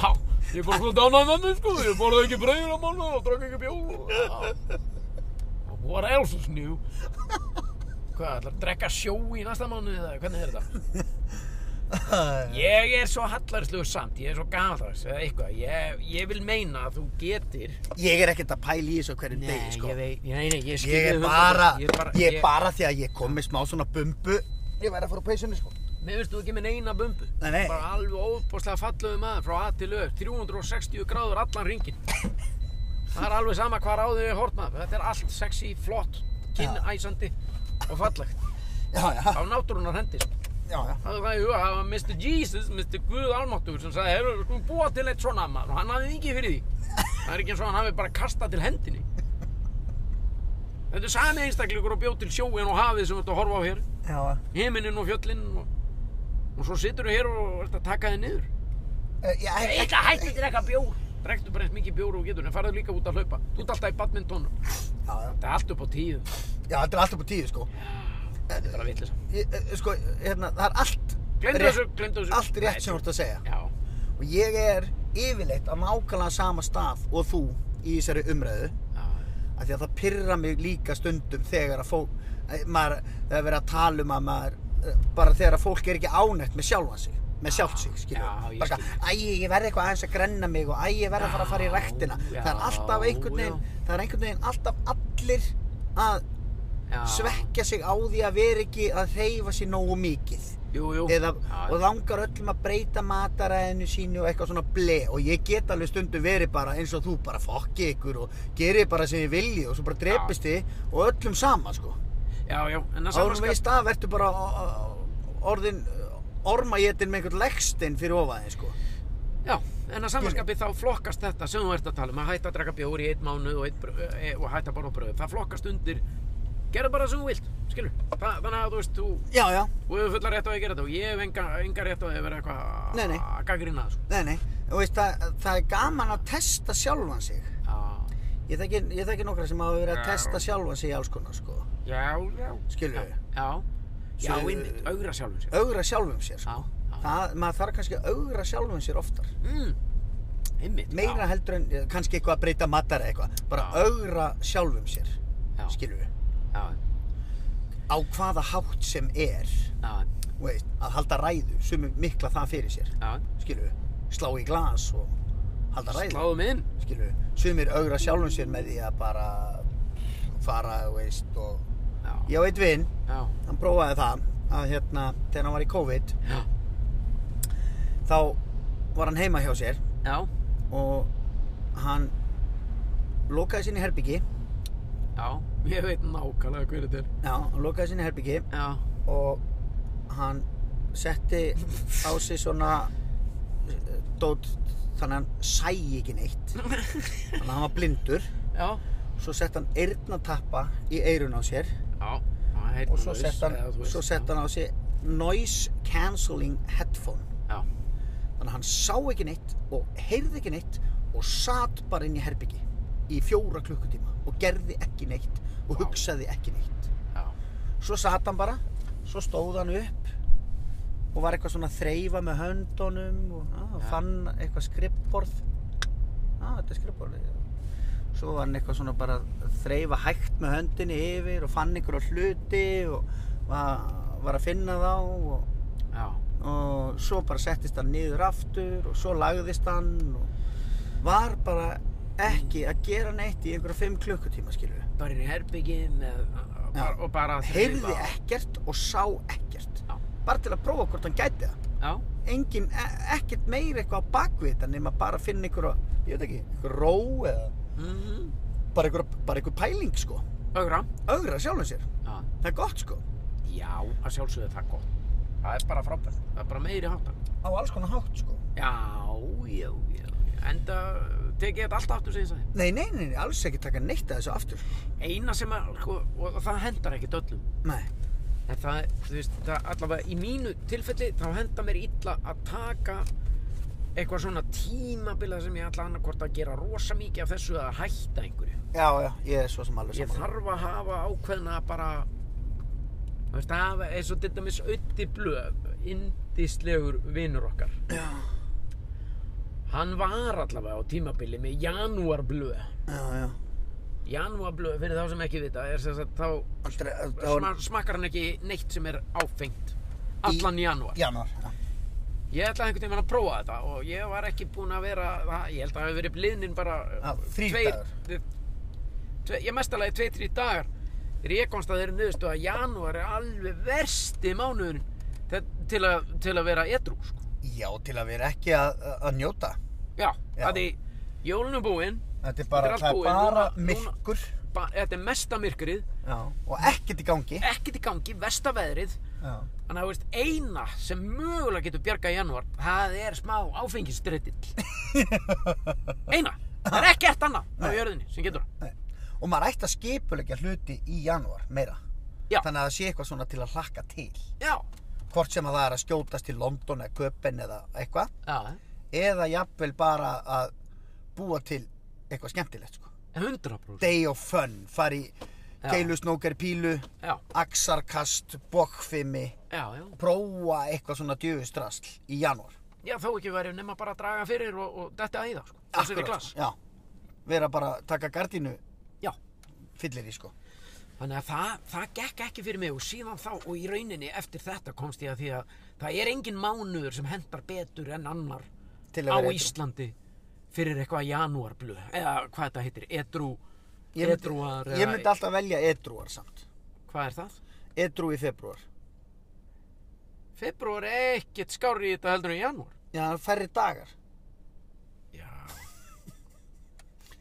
Ég er bara svona ánæðið með mig, sko. Ég borðið ekki brauðir á mánuð og drakk ekki bjóð. já. What else is new? Hvað, ætlar að drekka sjó í næsta mánuði eða hvernig er þetta? Ég er svo hallarslugur samt, ég er svo gamaldags eða eitthvað, ég, ég vil meina að þú getir Ég er ekkert að pæla í þessu á hverjum degi, sko. ég veit, nei, nei, ég skil Ég er þig bara, 100%. ég er bara, því að ég kom með smá svona bumbu Ég væri að fara á peysunni sko Mér veist þú ekki með neina bumbu Nei, nei. Bara alveg óbúslega fallegu maður frá að til öf 360 gráður allan ringin Það er alveg sama hvað ráðu ég hort maður Þetta er allt sexy, flott, kinnæsandi og fallegt Já, já, Á náttúrunar hendist já, já Það var það í huga, það var Mr. Jesus, Mr. Guð Almáttur sem sagði, hefur við skulum búa til eitt svona maður og hann hafði ekki fyrir því. Það er ekki eins og hann hafi bara kastað til hendinni. Þetta er sami einstaklingur og bjó til sjóin og hafið sem við ert að horfa á hér, Já, himinin og fjöllin og, og svo situr við hér og ert að taka þið niður. já, Ég já, ætla að hætti drekka bjór. Drektu bara eins mikið bjór og þú getur en farðu líka út að hlaupa. Þú ert alltaf í badmintonum. já, Þetta er allt upp á tíðum. já, þetta er allt upp á tíu sko Þetta er bara vitleysa. ég, eh, Sko, hérna, það er allt Gleymdu rétt- þessu, gleymdu þessu. Allt rétt Nei, sem þú ert að segja Já, Og ég er yfirleitt á nákvæmlega sama stað og þú í þessari umræðu já, af Því að það pyrra mig líka stundum þegar að fólk eh, maður, Það er verið að tala um að maður eh, bara þegar að fólk er ekki ánægt með sjálfan sig með sjálft sig, skilju Já, ég bara, skil. æ, ég verði eitthvað aðeins að grenna mig og æ, ég verði að fara að fara í Já, ræktina það er já, alltaf einhvern veginn það er einhvern veginn alltaf allir að já. svekja sig á því að vera ekki að hreyfa sig nógu mikið Jú, jú. Eða, Já, og langar öllum að breyta mataræðinu sínu og eitthvað svona ble og ég get alveg stundum verið bara eins og þú bara fokki ykkur og gerið bara sem ég vilji og svo bara drepist þið og öllum sama sko Já, já, en að árum samanskap veist að verður bara uh, orðin ormajétin með einhvern leggstinn fyrir ofaðin sko Já, en að samanskapi þá flokkast þetta sem þú ert að tala um að hætta að draka bjóri í eitt mánu og, eitt, brauð- eh, og hætta bara á bröðu það flokkast undir, gerðu bara það sem þú vilt skilur, Þa, þannig að þú veist þú, já já, þú hefur fullar rétt á því að gera þetta og ég hef enga, enga rétt á því að vera eitthvað Nei, nei. að gaggrina það sko. Nei, nei, þú veist að það er gaman að testa sjálfan sig. Já, Ég þekki, ég þekki nokkra sem hafa verið að Já. testa sjálfan sig í alls konar, sko. já, já Skilju, Já, já, Svo- innmitt, augra sjálfum sér augra sjálfum sér, Já, sko. já, Það, maður þarf kannski að augra sjálfum sér oftar. mm, einmitt Meira heldur en eh, kannski eitthvað að breyta matar eða eitthvað. Bara Já. augra sjálfum sér, Já. skilju. Já, já, Á hvaða hátt sem er, já, þú veist, að halda ræðu, sumum mikla það fyrir sér, já skilju. Slá í glas og halda ræðu. Sláðum inn skilur við, sumir augra sjálfum sér með því að bara fara, þú veist, og Já, já, ég á eitt vinn, já, hann prófaði það að hérna, þegar hann var í COVID já, þá var hann heima hjá sér já, og hann lokaði sinni herbyggi ég veit nákvæmlega hver þetta er já, hann lokaði sinni herbyggi Já, og hann setti á sig svona eh, dót, þannig að hann sæi ekki neitt þannig að hann var blindur já svo sett hann eyrnatappa í eyrun á sér Já, það er og svo sett hann, svo sett hann á sig noise cancelling headphone Já, þannig að hann sá ekki neitt og heyrði ekki neitt og satt bara inn í herbyggi í fjóra klukkutíma og gerði ekki neitt og Vá. hugsaði ekki neitt já, svo satt hann bara, svo stóð hann upp og var eitthvað svona að þreyfa með höndunum og á, Já. fann eitthvað skrippborð á, þetta er skrippborð svo var hann eitthvað svona bara að þreyfa hægt með höndinni yfir og fann einhverja hluti og var, var að finna þá og, já, og svo bara settist hann niður aftur og svo lagðist hann og var bara ekki að gera neitt í einhverja fimm klukkutíma skilur við bara inn í herbyggið með, Já. og bara að heyrði þreifa. ekkert og sá ekkert Já. bara til að prófa hvort hann gæti það Já, engin, e- ekkert meira eitthvað á bakvið þetta nema bara að finna einhverja ég veit ekki, einhver ró eða mhm, bara einhver, bara einhver pæling sko augra, ögra sjálfum sér, já, það er gott sko já, að sjálfsögðu er það gott. Það er bara frábært, það er bara meiri hátan. á alls konar hátt sko Já, já, já, enda tekið þetta allt aftur sem ég sagði. Nei, nei, nei, nei, alls ekki taka neitt af þessu aftur. Eina sem að, sko, og það hendar ekkert öllum. Nei. En það, þú veist, það allavega í mínu tilfelli þá henda mér illa að taka eitthvað svona tímabila sem ég ætla annarkvort að gera rosa mikið af þessu að hætta einhverju. Já, já, ég er svo sem alveg Ég saman. þarf að hafa ákveðna bara, þú veist, að hafa eins og til dæmis Ötti Blöf, indislegur vinur okkar. Já. Hann var allavega á tímabili með Janúar Blöf. Já, já. Janúar Blöf, fyrir þá sem ekki vita, er sem sagt þá Aldrei, það Sma, var... smakkar hann ekki neitt sem er áfengt allan í janúar Janúar, já. ég ætlaði einhvern veginn að prófa þetta og ég var ekki búinn að vera það, ég held að það hafi verið bliðnin bara Já, Ah, þrír dagar. tve, ég mestalagi tvei, þrý dagar þegar ég komst að þeirri niðurstu að janúar er alveg versti mánuðurinn til, til, að, til að vera edrú sko. Já, til að vera ekki að, að- að njóta. já, Já. það er jólunum búinn Þetta er Þetta bara, er það allt er bara búið. Núna- núna- myrkur. ba- þetta er mesta myrkrið Já. Og ekkert í gangi. ekkert í gangi, versta veðrið Já. Þannig að þú veist, eina sem mögulega getur bjargað í janúar, það er smá áfengisdreytill. Eina. Það er ekkert annað á Nei. jörðinni sem getur það. Nei. Og maður ætti að skipulegja hluti í janúar, meira. Já. Þannig að það sé eitthvað svona til að hlakka til. Já. Hvort sem að það er að skjótast til London eða Köpen eða eitthvað. Já, Eða jafnvel bara að búa til eitthvað skemmtilegt, sko. 100%. Day of fun, fari í Já. keilusnóker pílu, Já, axarkast, bókfimi, já, já. prófa eitthvað svona djöfustrasl í janúar. Já, þó ekki verið nema bara að draga fyrir og, og detta í það, sko. Og setja í Akkúrat, glas. Já. Vera bara að taka gardínu Já. fyllir í, sko. Þannig að það, það gekk ekki fyrir mig og síðan þá og í rauninni eftir þetta komst ég að því að það er engin mánuður sem hendar betur en annar Til að á vera edrú. Íslandi fyrir eitthvað janúarblu eða hvað þetta heitir, edrú, Ég myndi- edrúar Ég myndi alltaf velja edrúar samt. Hvað er það? Edrú í februar. Februar er ekkert skári í þetta heldur en janúar. Já, það er færri dagar. Já.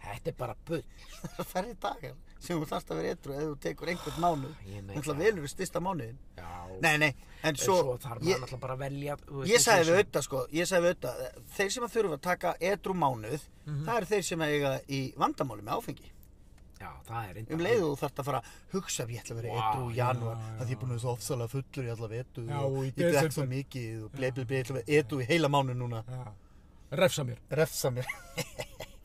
Þetta er bara bull. Það er færri dagar sem þú þarfst að vera edru eða þú tekur einhvern mánuð. ég meina Þannig að það. velur við styrsta mánuðin. Já. Nei, nei, en svo, svo... þarf maður ég, náttúrulega bara að velja. þú veist, ég sagði þessi- við auðvitað, sko, ég sagði við auðvitað, þeir sem að þurfa að taka edru mánuð, Mhm. það eru þeir sem að eiga í vandamáli með áfengi. Já, það er Um reynda. leiðu þú þarft að fara að hugsa ef ég ætla að vera Vá, edru í já, janúar, já. að ég er búin að vera svo ofsalega fullur í alla vetu Já, og og í ég drekk svo desember. mikið og blei, blei, blei, ég ætla að vera edru í heila mánu núna. Já. Refsa mér. Refsa mér.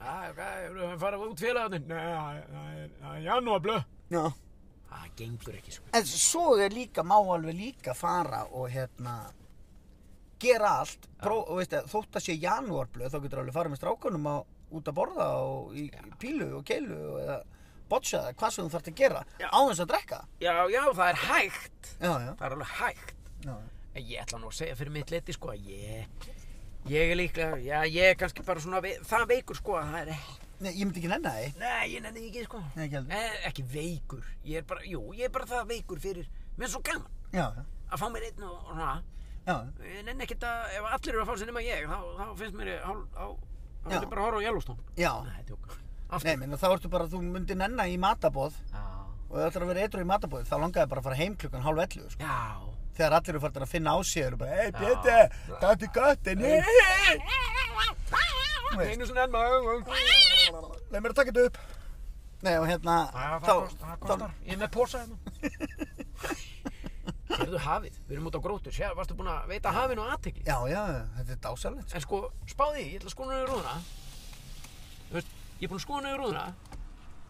Það er fara út félagarnir. Nei, það er- það er- það er janúarblöð. Já. Það gengur ekki sko. En svo er líka, má alveg líka fara og hérna gera allt, pró, og veist að þótt að sé janúarblöð þá getur alveg farið með strákunum á, út að borða og í pílu og keilu og eða botsa eða hvað sem þú þarft að gera Já. á þess að drekka. Já, já, það er hægt. Já, já. Það er alveg hægt. já. En ég ætla nú að segja fyrir mitt liti sko að ég, ég er líklega, já, ég er kannski bara svona, vei- það veikur sko að það er ekki. Nei, ég myndi ekki nenni það, ég. Nei, ég nenni því ekki sko. Nei, ekki heldur. Eh, ekki veikur, ég er bara, jú, ég er bara það veikur fyrir, mér er svo gaman Já, já. að fá mér einn og og svona, Já, ég nenni ekkert að, ef allir eru að fá sér nema ég, þá, þá finnst mér, ég- hál- þá, þá vil Já. ég bara horfa á Yellowstone. já. Nei, tjók. Nei, Aftur. menn þá ertu bara, þú myndi nenni í matabóð Já. og þú ætlar að vera edru í matabóð þá langaði bara að fara heim klukkan hálf 11, sko. Já. Þegar allir eru farin að finna á sig, eru bara, hei, Pétur, það er gott, en ég, Nei. Einu svona enn maður. Leif mér að taka þetta upp Nei og hérna Það þá- kost- það kostar. Ég er með posa hérna. Sérðu hafið, við erum út á grótur, sér, varstu búin að veita hafinu aðtegli? Já, já, þetta er dásalegt En sko, spáði, ég ætla að skoða niður rúðuna Þú veist, ég er búinn að skoða niður rúðuna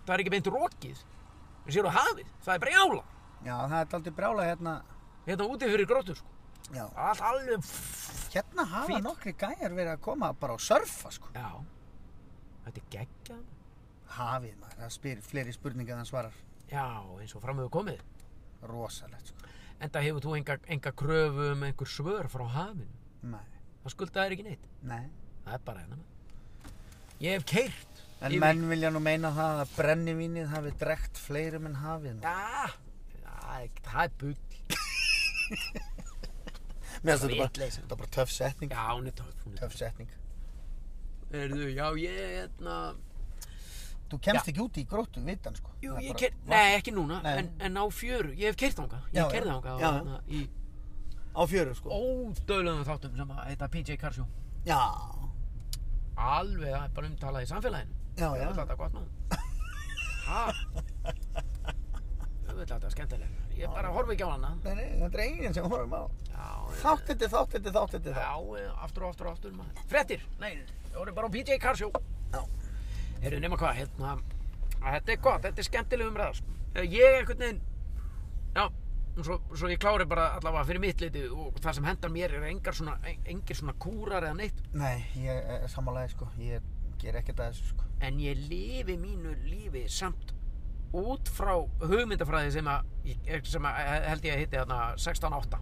Það er ekki beint rokið En sér á hafið, það er brjála Já, það er aldrei brjála hérna Hérna úti fyrir gróttu, sko Já, Allt alveg hérna hafa Fínt. nokkri gæjar verið að koma bara og surfa sko Já Þetta er geggjað Hafið maður, það spyr fleiri spurningar en hann svarar Já, eins og fram hefur komið Rosalegt sko Enda hefur þú enga, enga kröfu um einhver svör frá hafinu Nei, Það skuldaðir ekki neitt nei Það er bara hérna með Ég hef keirt En menn vilja nú meina það að brennivínið hafi drekt fleirum en hafið maður. Já, það er- það er bull Mér finnst þetta bara, Vitleysa. þetta er bara töff setning Já, hún er töf, hún er töf Töff setning Erðu, já, ég, hérna Þú kemst ekki úti í gróttu vitan sko Jú, Það er ég bara- ker, nei ekki núna, Nei. En, en á fjöru, ég hef kert þangað, Já, ég kerði já. þangað á, Já, já. hérna, í Á fjöru sko ódöðlegum þáttum sem að heita PJ Karsjó. Já, alveg að bara umtala í samfélaginu Já, já. Öfull þetta gott maður Ha? Öfull þetta skemmtilega Ég bara horfi ekki á hana Nei, nei, þetta er enginn sem horfum á. Já, Þátt þetta, þátt þetta, þátt þetta, Já, þátt. eh, aftur og aftur og aftur maður. Frettir, nei, það voru bara á PJ Carshow Já. Heyrðu, nema hvað, hérna að Þetta er gott, þetta er skemmtileg umræða sko. Eh, Ég einhvern veginn Já, og svo, svo ég klári bara allavega fyrir mitt liti og það sem hendar mér er engar svona, en- engir svona kúrar eða neitt Nei, ég er samanlega, sko. Ég ger ekkert að þessu, sko. en ég lifi mínu lífi samt út frá hugmyndafræði sem að, ég- sem að held ég að hitti þarna 16.8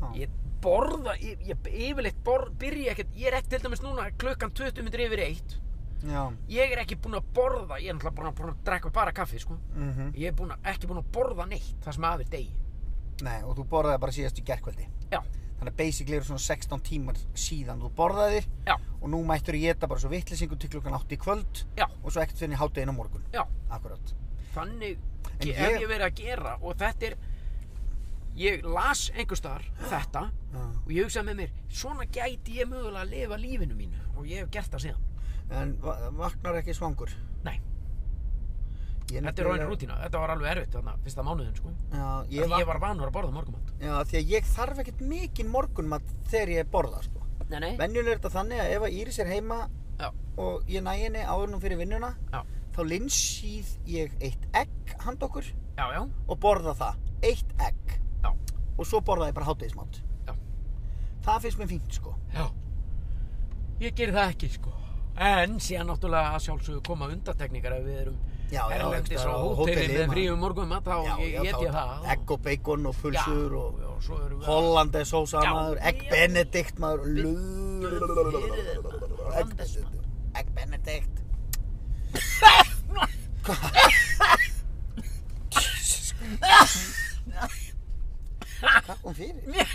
Já. ég borða, ég, ég yfirleitt bor, byrja ekkert, ég er ekki til dæmis núna klukkan 20 myndir yfir eitt Já. ég er ekki búinn að borða, ég er náttúrulega búinn að, búinn að drekka bara kaffi sko, mhm. ég er búinn að, ekki búinn að borða neitt það sem aðeins degi, Nei, og þú borðaði bara síðast í gerkveldi. já, Þannig að basically eru svona 16 tímar síðan þú borðaðir já, og nú mættur ég geta bara svo vittlisingu til klukkan 8 í kvöld já, og svo ekkert fyrir háttegin á morgun. já Akkurát. þannig En ég... ég- hef ég verið að gera og þetta er ég las einhverstaðar þetta Já. og ég hugsaði með mér, svona gæti ég mögulega að lifa lífinu mínu og ég hef gert það síðan En va- vaknar ekki svangur? nei, Ég þetta er nefnilega- raunin rútína, þetta var alveg erfitt þarna fyrsta mánuðin sko, Já, ég, ég, ég vak... var vanur að borða morgumat Já, því að ég þarf ekkert mikinn morgunmat þegar ég borða, sko. nei, nei, Venjulega er þetta þannig að ef að Íris er heima já, og ég næ henni áðurnum fyrir vinnuna, já, þá linsýð ég eitt egg hand okkur já, já, og borða það. Eitt egg. já, Og svo borða ég bara hátegismat. Já. Það finnst mér fínt, sko. já. ég gerir það ekki sko en síðan náttúrulega að sjálfsögðu koma undatekningar ef við erum Já, já, erlendis einhvers á staðar á hóteli hóteli, með maður. fríum morgumat þá Já, ég já, get ég þá- það Egg og bacon og pulsur og já, svo erum við að- hollandesósa Já. maður, egg Já. benedict maður, fyrir þér, lúr, maður. egg benedict, egg benedict. Hvað? Hvað kom fyrir? mér,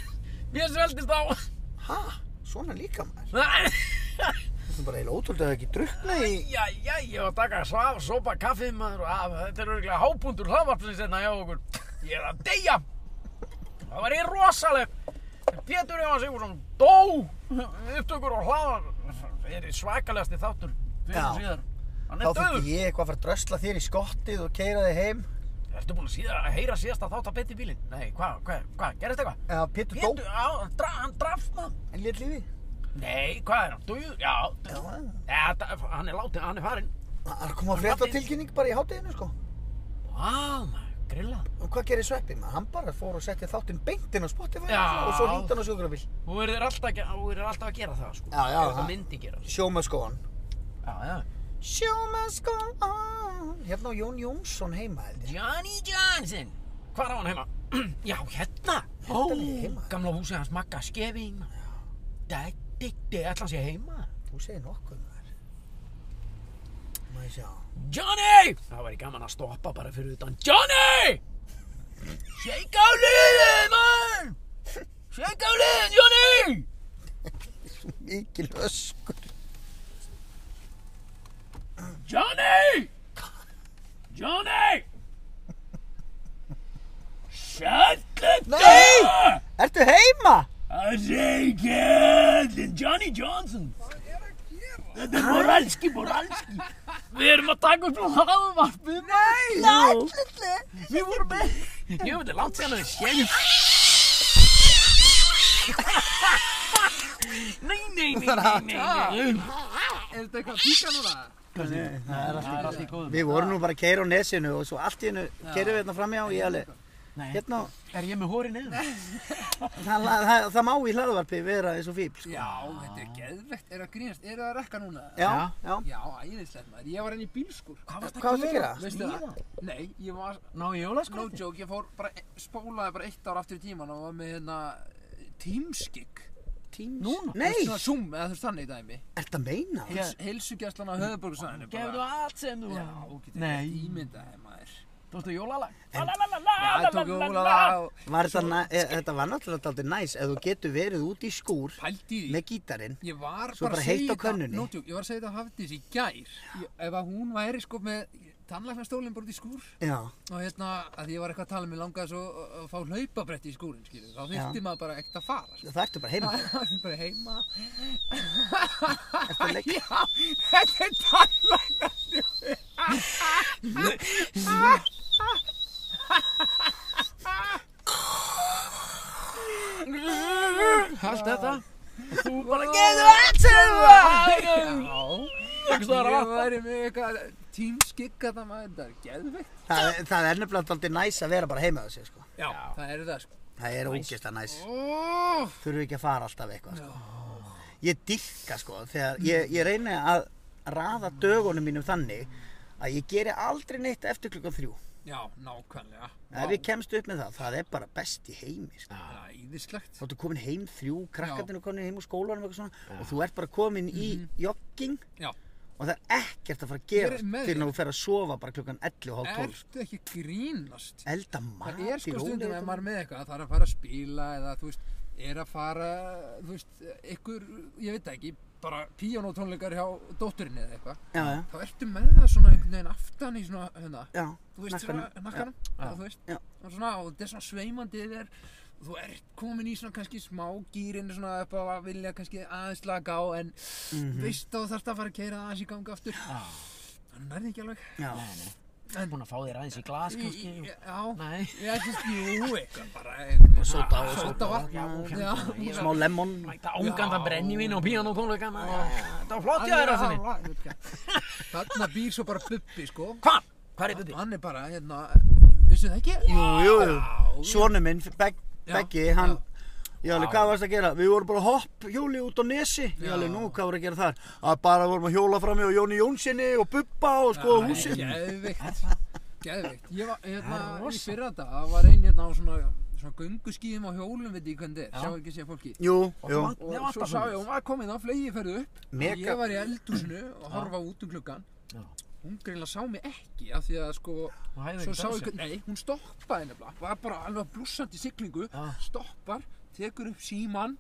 mér sveldist á Ha? Svona líka maður? Æ, Það er bara eiginlega ótrúlega að það ekki drukna í... já, já, ég var að taka svaf, sopa kaffið maður og að, þetta er örgulega hápundur hlaðvarpsins hérna hjá okkur ég er að deyja það var ég rosaleg En Pétur Jóhann Sigurðsson dó upptökur og hlaðvarp það er svakalegasti þáttur fyrir Já. síðar hann Þá er döður fyrir ég eitthvað að fara að drösla þér í skottið og keira þig heim. Ertu búin að, síða, að heyra síðasta þátt að beti bílinn? Nei, hvað, hvað, hvað, gerist eitthvað? Já, Pétur dó, Pétur, á, dra, hann drafst maður en lét lífi. Nei, hvað er hann? Döður? Já, Já, döður það Já, það- hann er látið, hann er farinn er komið að frétta tilkynning bara í háteginu, sko. Vá, maður, grillað Og hvað gerir Sveppi? maður? Hann bara fór og setti þáttinn beint inn á Spotify Já. og svo hýndi hann á sjúkrabíl. Þú verður alltaf, að- þú verður alltaf að gera það sko. Já, já, Ef það- Það myndi gera það. Sjómaskóan. Já, já. Sjómaskóan. Hérna á Jón Jónsson heima held ég. Johnny Johnson. Hvar á hann heima? já, hérna. Ó, Hérna er heima. gamla húsið hans Magga Skeving. Dætti, ætla hans ég heima. Þú segir nokkuð maður. Má ég sjá. Johnny! Það væri gaman að stoppa bara fyrir utan. Johnny! Shake á liðið, mann! Shake á liðið, Johnny! Mikil öskur. Johnny! Johnny! Shut the Nei! door! Ertu heima? Það segi kjallin Johnny Johnson Þetta er moralski, moralski Við erum að taka upp frá hafðvarpið Nei, Lætlutli. Við vorum með Jú, þetta er langt sérna við séum Nei, nei, nei, nei, nei, nei. Er þetta eitthvað píka núna? Það er Það er alltaf allt í góðum. Við vorum nú bara að keira á nesinu og svo allt í hennu keirum við hérna framjá og ég alveg. Nei. Hérna, Er ég með hóri neðan? það, það, það má í hlaðvarpi vera eins og fíbl. sko. Já, þetta er geðvegt, er það grínast, er það að rekka núna? Já, já. Já, æðislegt maður, ég var enn í bílskur Hvað varstu að Hvað varstu að gera? gera? Veistu það? Nei, ég var, Ná í no jólaskóti? joke, ég fór bara, spólaði bara eitt ár aftur í tíman og var með hérna Teamskik Teams. Núna? Nei, Svona Zoom eða þú veist þannig dæmi ert að meina? Heils, Heilsugjastlan á höfuborgarsæðinu Gefðu allt sem þú Já, þú getur Nei. ekki ímyndaði maður Tókstu jólalag? Já, ég tók jólaða og Var þetta, næ, e, þetta var náttúrulega alltaf næs ef þú getur verið út í skúr pældi í því með gítarinn Ég var Svo bara bara að heitt segja á könnunni. nótjúk, Ég var að segja þetta að Hafdís í gær ég, Ef að hún væri sko með tannlæknastólinn bara út í skúr Já, og hérna að ég var eitthvað að tala mér langaði svo að- að fá hlaupabretti í skúrin skilur þá þurfti maður bara ekkert að fara sko. það ertu bara heima. bara heima Ertu að leggja? já, þetta er tannlæknastólinn Allt þetta já, ég væri með eitthvað tímskikka það maður, þetta er geðveikt Það, er- það er nefnilega alltaf næs að vera bara heima á sig, sko. já, það er það sko Það er ógeðslega næs. oh. Þurfu ekki að fara alltaf eitthvað, sko. Ég dyrka, sko, þegar ég, ég reyni að raða dögunum mínum þannig að ég geri aldrei neitt eftir klukkan þrjú. já, nákvæmlega Ef ég kemst upp með það, það er bara best í heimi, sko. það er íðislegt Þá ertu komin heim þrjú, krakkarnir eru komin heim úr skólanum og eitthvað svona og þú ert bara komin í jogging Mhm. já, og það er ekkert að fara að Ég gera er með fyrir þér. að þú fer að sofa bara klukkan 11 og hálf 12. ertu ekki að grínast Elda það mat er í sko stundum ef rólegheitum. maður er með eitthvað það er að fara að spila eða þú veist er að fara, þú veist, ykkur ég veit það ekki, bara píanótónleikar hjá dótturinni eða eitthvað Já, já, þá ertu með það svona einhvern veginn aftan í svona, hérna, já. þú veist, nakkanum. svona nakkanum, Já. og þú veist, Já. og svona, og þetta er svona sveimandi yfir þér, og þú ert komin í svona kannski smá gýrin svona upp á að vilja kannski aðeins laga á, en Mhm. veist þá þarft að fara að keira aðeins í ganga aftur, það nærði ekki alveg, Já, Búin að fá þér aðeins í glas Í- kannski í- já, Nei ég ætlust, jú, eitthvað bara, eitthvað, Sota og sota vatn, Já, já, já. smá lemon. Mæta ángandan brennivín og píanótónleikana Það var flott Hann hjá er þér að að- þarna býr svo bara bubbi, sko, Hvað? Hvað er Bubbi? hann er bara, hérna, vissu það ekki? Jú, jú, jú. Já, Sónu minn, Beg- Já, Beggi, hann... Já, alveg, hvað varst að gera? Við vorum bara hopp hjóli út á nesi. Já, alveg, nú, hvað voru að gera þar? Að bara vorum að hjóla fram hjá Jóni Jónssoni og Bubba og skoða húsið. Geðvikt, geðvikt. Ég var, Það er hérna, í rosa. fyrra þetta, var einn hérna á svona, svona gönguskíðum á hjólum, veit ég hvernig þetta er, Já. sjá ekki sé fólki. Jú, jú. Og Og það var svo alltaf sá ég, svona. hún var komin á flegi ferðu upp, og Mega- ég var í eldhúsinu og horfa út um klukkan. Já. Hún greinlega sá mig ekki, af því að sko, Hún hægði svo ekki sá á ég, sér. hvern- nei, hún stoppaði nefnilega, var bara alveg blúsandi siglingu, Já. stoppar, tekur upp símann,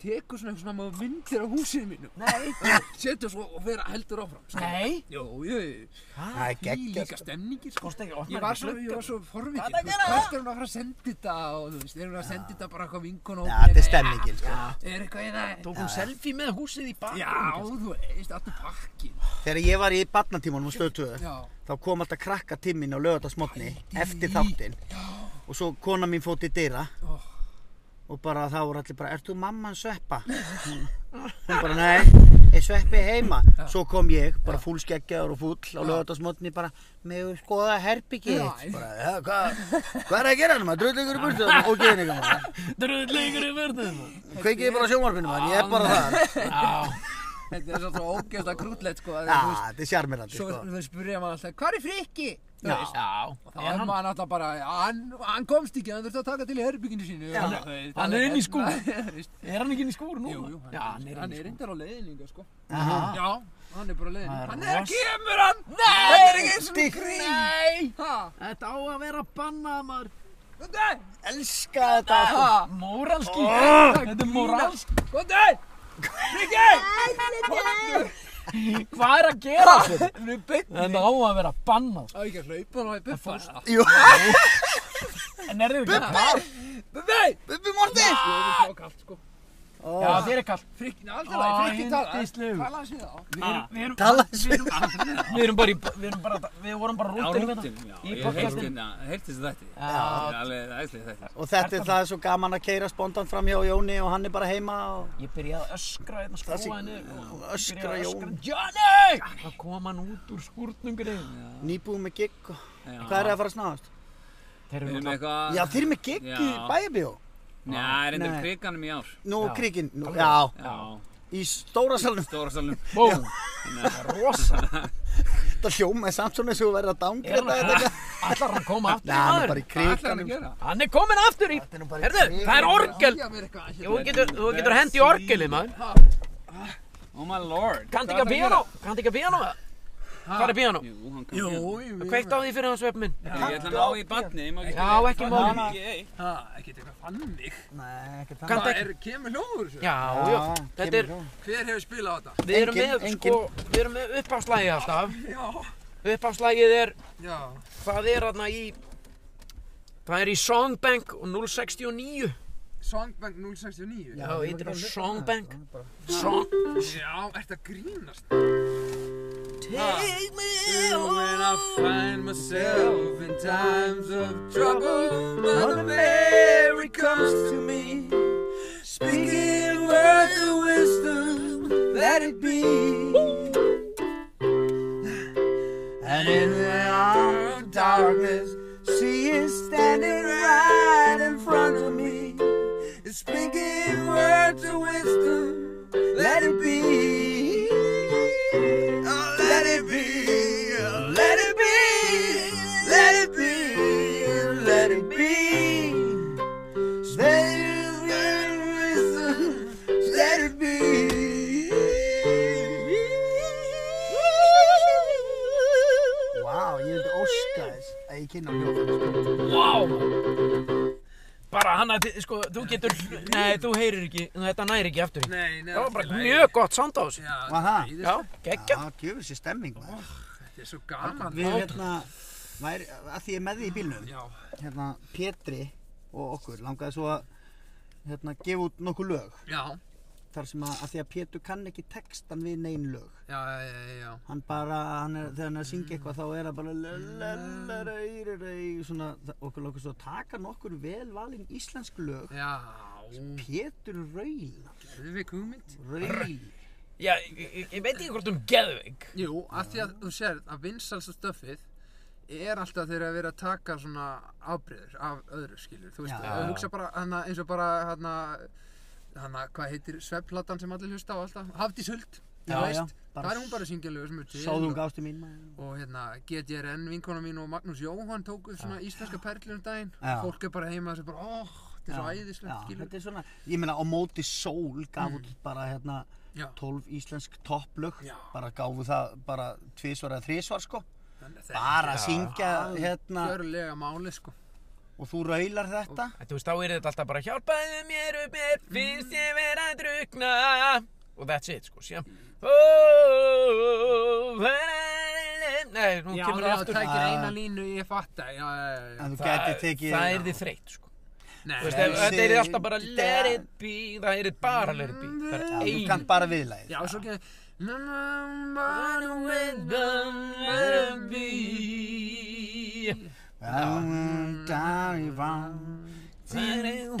tekur svona eitthvað svona myndir á húsinu mínu, Ah, Nei setur svo og vera heldur áfram. sko. skilur. Nei Jú, jú, jú. Það er Því geggjast. líka stemningir sko. Kosti ekki að opna Ég var ekki svo, gluggann. ég var svo forvitin, Hvað er að þú veist, gera? hvert er hún að fara að senda þetta og þú veist, er hún að senda þetta bara eitthvað vinkun og Já, þetta er stemmingin, sko. Er eitthvað í það? Tók hún selfie með húsið í bakgrunni Já, þú veist, alltaf pakkin. Þegar ég var í barnatímanum á stöðtöðu, Já, þá kom alltaf krakka tímin á lögadagsmotni eftir þáttinn og svo kona mín fótt í dyra Ó. og bara þá voru allir bara, ert þú mamman sveppa? hún bara, nei, ég sveppi heima svo kom ég, bara fúlskeggjaður og fúll á lögadagsmotni bara, meðu skoða herbyggið Já. þitt." bara, ja, hvað hva er að gera hann, maður drullingur í burtu og geðin ykkur maður, Drullingur í verðum kveikiði bara á sjónvarpinu maður, ég er bara það Já þetta er svo svo ógeðslega krúllett sko. Já, Ja, þú veist, þetta er sjarmirandi svo sko. þau spyrja maður alltaf, hvað er frikki? Þú veist, Já þá er maður alltaf bara, "Já, hann, hann komst ekki, hann þurfti að taka til í herbygginu sínu. Já. og þú veist, Hann er inni í skúr. þú veist. Er hann ekki inn í skúr núna? Jú, jú, hann, Já, er, hann er reyndar á leiðinni, sko. Aha. Já, hann er bara á leiðinni. Það er Hann rosa- er að kemur hann! Nei! Þetta er ekki eins og Dick. grín! Ha? Þetta á að vera bannað maður Góðan! elska þetta sko. Ha? Móralski Þetta er móralski Góðan! Hvað er að gera þessu? Hann er beint. Þetta á að vera bannað Á ekki að hlaupa hann á í buffa. Jú, En er þið ekki að fara? Buffi! Bubi Morti Þú erum smá kallt, sko. Já, þér er kall Frikkin, alltaf lagi, Á, frikkin tala. yndislegur. Tala hans í þá. Við erum- við erum- Tala við erum- Við erum bara í Við erum bara Við vorum bara rútin við það já, Í ég podcastinu. heyrti- já, heyrti þessi þætti Já, Það er alveg æðislega þætti Og þetta er það svo gaman að keira spontant fram hjá Jóni og hann er bara heima og... Ég byrjaði að öskra hérna Það sé- skrúa henni og öskra byrjaði að Jón. öskra, Johnny! Það kom hann út úr skúrtnum greið. Nýbúið með gigg og... Já. Hvað er það að fara að snáðast? Þeir Við eru erum náttúrulega eitthvað Já, þeir eru með gigg í Já. bæjabíó. Já, er endur Nei. kriganum í ár Nú, Já. krikinn, nú, já, Já, í stóra salnum. stóra salum Bóm! Það er rosa. Það hljómaði samt svona eins og verið að Er dángreta hann þetta. að, allar hann koma aftur Nei, hann er bara maður? í Hvað ætlar hann að kriganum. gera? Hann er komin aftur í, Þetta er nú bara í herðu, það er orgel. Gæja mér eitthvað. hérna. Þú getur, þú getur hendi í orgelið maður. Oh my lord Kanntu Hvað ekki að ætlar piano? Kanntu ekki að piano? Hvað er piano? hann að gera? Jú, hann kann Jú, piano. jú. Kveikt á því fyrir hans vefn minn. Ég ætla að ná í batni Já, ekki máli. Ha, ekkert eitthvað fannig. Nei, ekki það. Kanntu Það ekki? er, kemur hljóður þessu. Já, já. Þetta er, Hver hefur spilað á þetta? við erum Engin- með, sko, við erum með uppáðslægi alltaf. Já. uppafslægið er Já. það er aðna í það er í Songbank og 069 Songbank 069? Já, heitir hún Songbank? Song Já, ert að grínast? Take me When I find myself in times of trouble Mother Mother Mary comes to me Speaking words of wisdom Let it be And in the hour of darkness She is standing right in front of me Speaking words of wisdom Let it be Oh, let it be, oh, let it be, let it be, let it be. Let it be, let it be. Vá, ég vildi óska þess að ég kynna hljóðfæri sko. Wow Bara hann að, þið- sko, þú getur Nei, þú heyrir ekki, þetta næri ekki aftur í. Nei, nei, Það var allt í bara lagi. mjög gott sound á þessu Já, Var það? þetta Já, er- geggja Já, djöfis sér stemming maður. Þetta er svo gaman Við hérna, væri, að því ég er með því í bílnum, Já, hérna Pétri og okkur langaði svo að hérna, gefa út nokkuð lög já, þar sem að, að því að Pétur kann ekki textan við neyn lög já, já, já, já hann bara, hann er, þegar hann er að Mm. syngja eitthvað þá er hann bara lalalalaraurai, svona, það- okkur langar svo að taka nokkur vel valin íslensk lög Já, Mm. Pétur Raul þetta er við hugmynd Raul Já, ég, ég- ég veit ekki hvort hún geðveik Jú, af því að þú sér að vinsalsta stöfið er alltaf þegar að vera að taka svona afbreyður af öðru skilur þú veist, Já. að hugsa bara hana, eins og bara hana, hana, hvað heitir svefplatan sem allir hlusta á alltaf, Hafdís Huld þú Já, já, veist, bara það er hún bara að syngja lögur sem er til Sáðum og, gástu mín maður og hérna, GDRN vinkona mín og Magnús Jóhann tók upp svona íslenska perlur um daginn Já. fólk er bara heima og þessi bara, óh, þetta er svo æðislegt Mm. já, skilur þetta er svona, ég meina á móti sól gaf út bara hérna Já. 12 íslensk topplög Já. bara gáfu það bara tvisvar eða þrisvar sko Þannig að þetta er bara að syngja hérna Gjörlega máli sko og þú raular þetta Þú veist, þá er þetta alltaf bara Hjálpaðu mér upp mér, finnst ég vera að drukna Og that's it, sko, síðan Ó, Nei, nú Já, kemur það já, aftur tækir Já. eina línu, ég fatta já, já, já, já. en þú Það, gæti tekið það er þið þreytt, sko Nei, Þú veist, ef- Frelsi Þetta er alltaf bara í let dag. it be, það er bara let it be Það Já, er þú einu kannt bara viðlæðið Já, svo kemur Na, na, Run na, na, away, na, run, let it be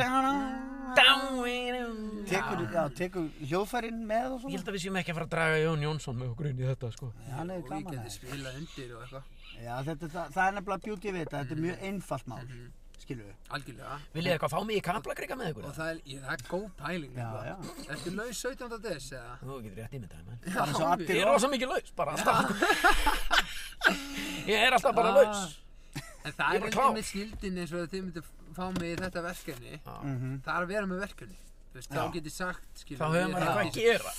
Down with it. tekur, já, tekur hljóðfærin með og Ég svona held að við séum ekki að fara að draga Jón Jónsson með okkur inn í þetta sko Já, hann er Og ég gaman að geti þessu. spilað undir og eitthvað Já, þetta, það, það er nefnilega beauty við þetta, þetta er mjög einfalt mál, skilur við. Algjörlega Viljið eitthvað fá mig í kaplakrika með ykkur? Og það er, ég, það er góð pæling Já, sko. já. Ertu laus 17. des eða? Þú getur rétt ímyndað mér Já, svo allir- Ég er rosa mikið laus, bara alltaf sko. Ég er alltaf bara Ah. laus En það Ég er er bara heldur klár. með snildin eins og að þið myndu fá mig í þetta verkefni Það er að vera með verkefni Þú veist, þá Já. geti sagt skilur Þá hefur ég maður er eitthvað að ekki- gera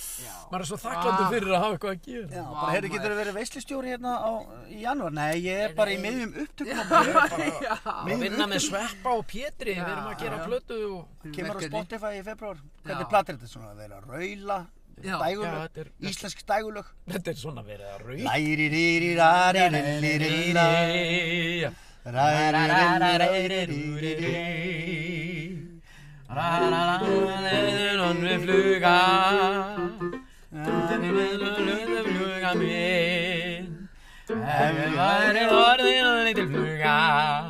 Maður er svo þakklandur Ah. fyrir að hafa eitthvað að gera Já, Vá, bara heyrðu, getur maður. þú verið veislustjóri hérna á, í janúar? Nei, ég er bara í miðjum upptökum og Bara að vinna með Sveppa og Pétri Við erum að gera Já. plötu og kemur á Verkefni. Spotify í februar. Já. Hvernig platir þetta svona? Verið að raula, Já, já, dægulög, þetta er- íslensk dægulög. Þetta er svona verið að rauð Læri, rýri, rari, lili, rýra, ræri, rýri, rari, rýri, rýri. Leðunan við fluga Leðunan fluga minn Ef við væri orðin að leitil fluga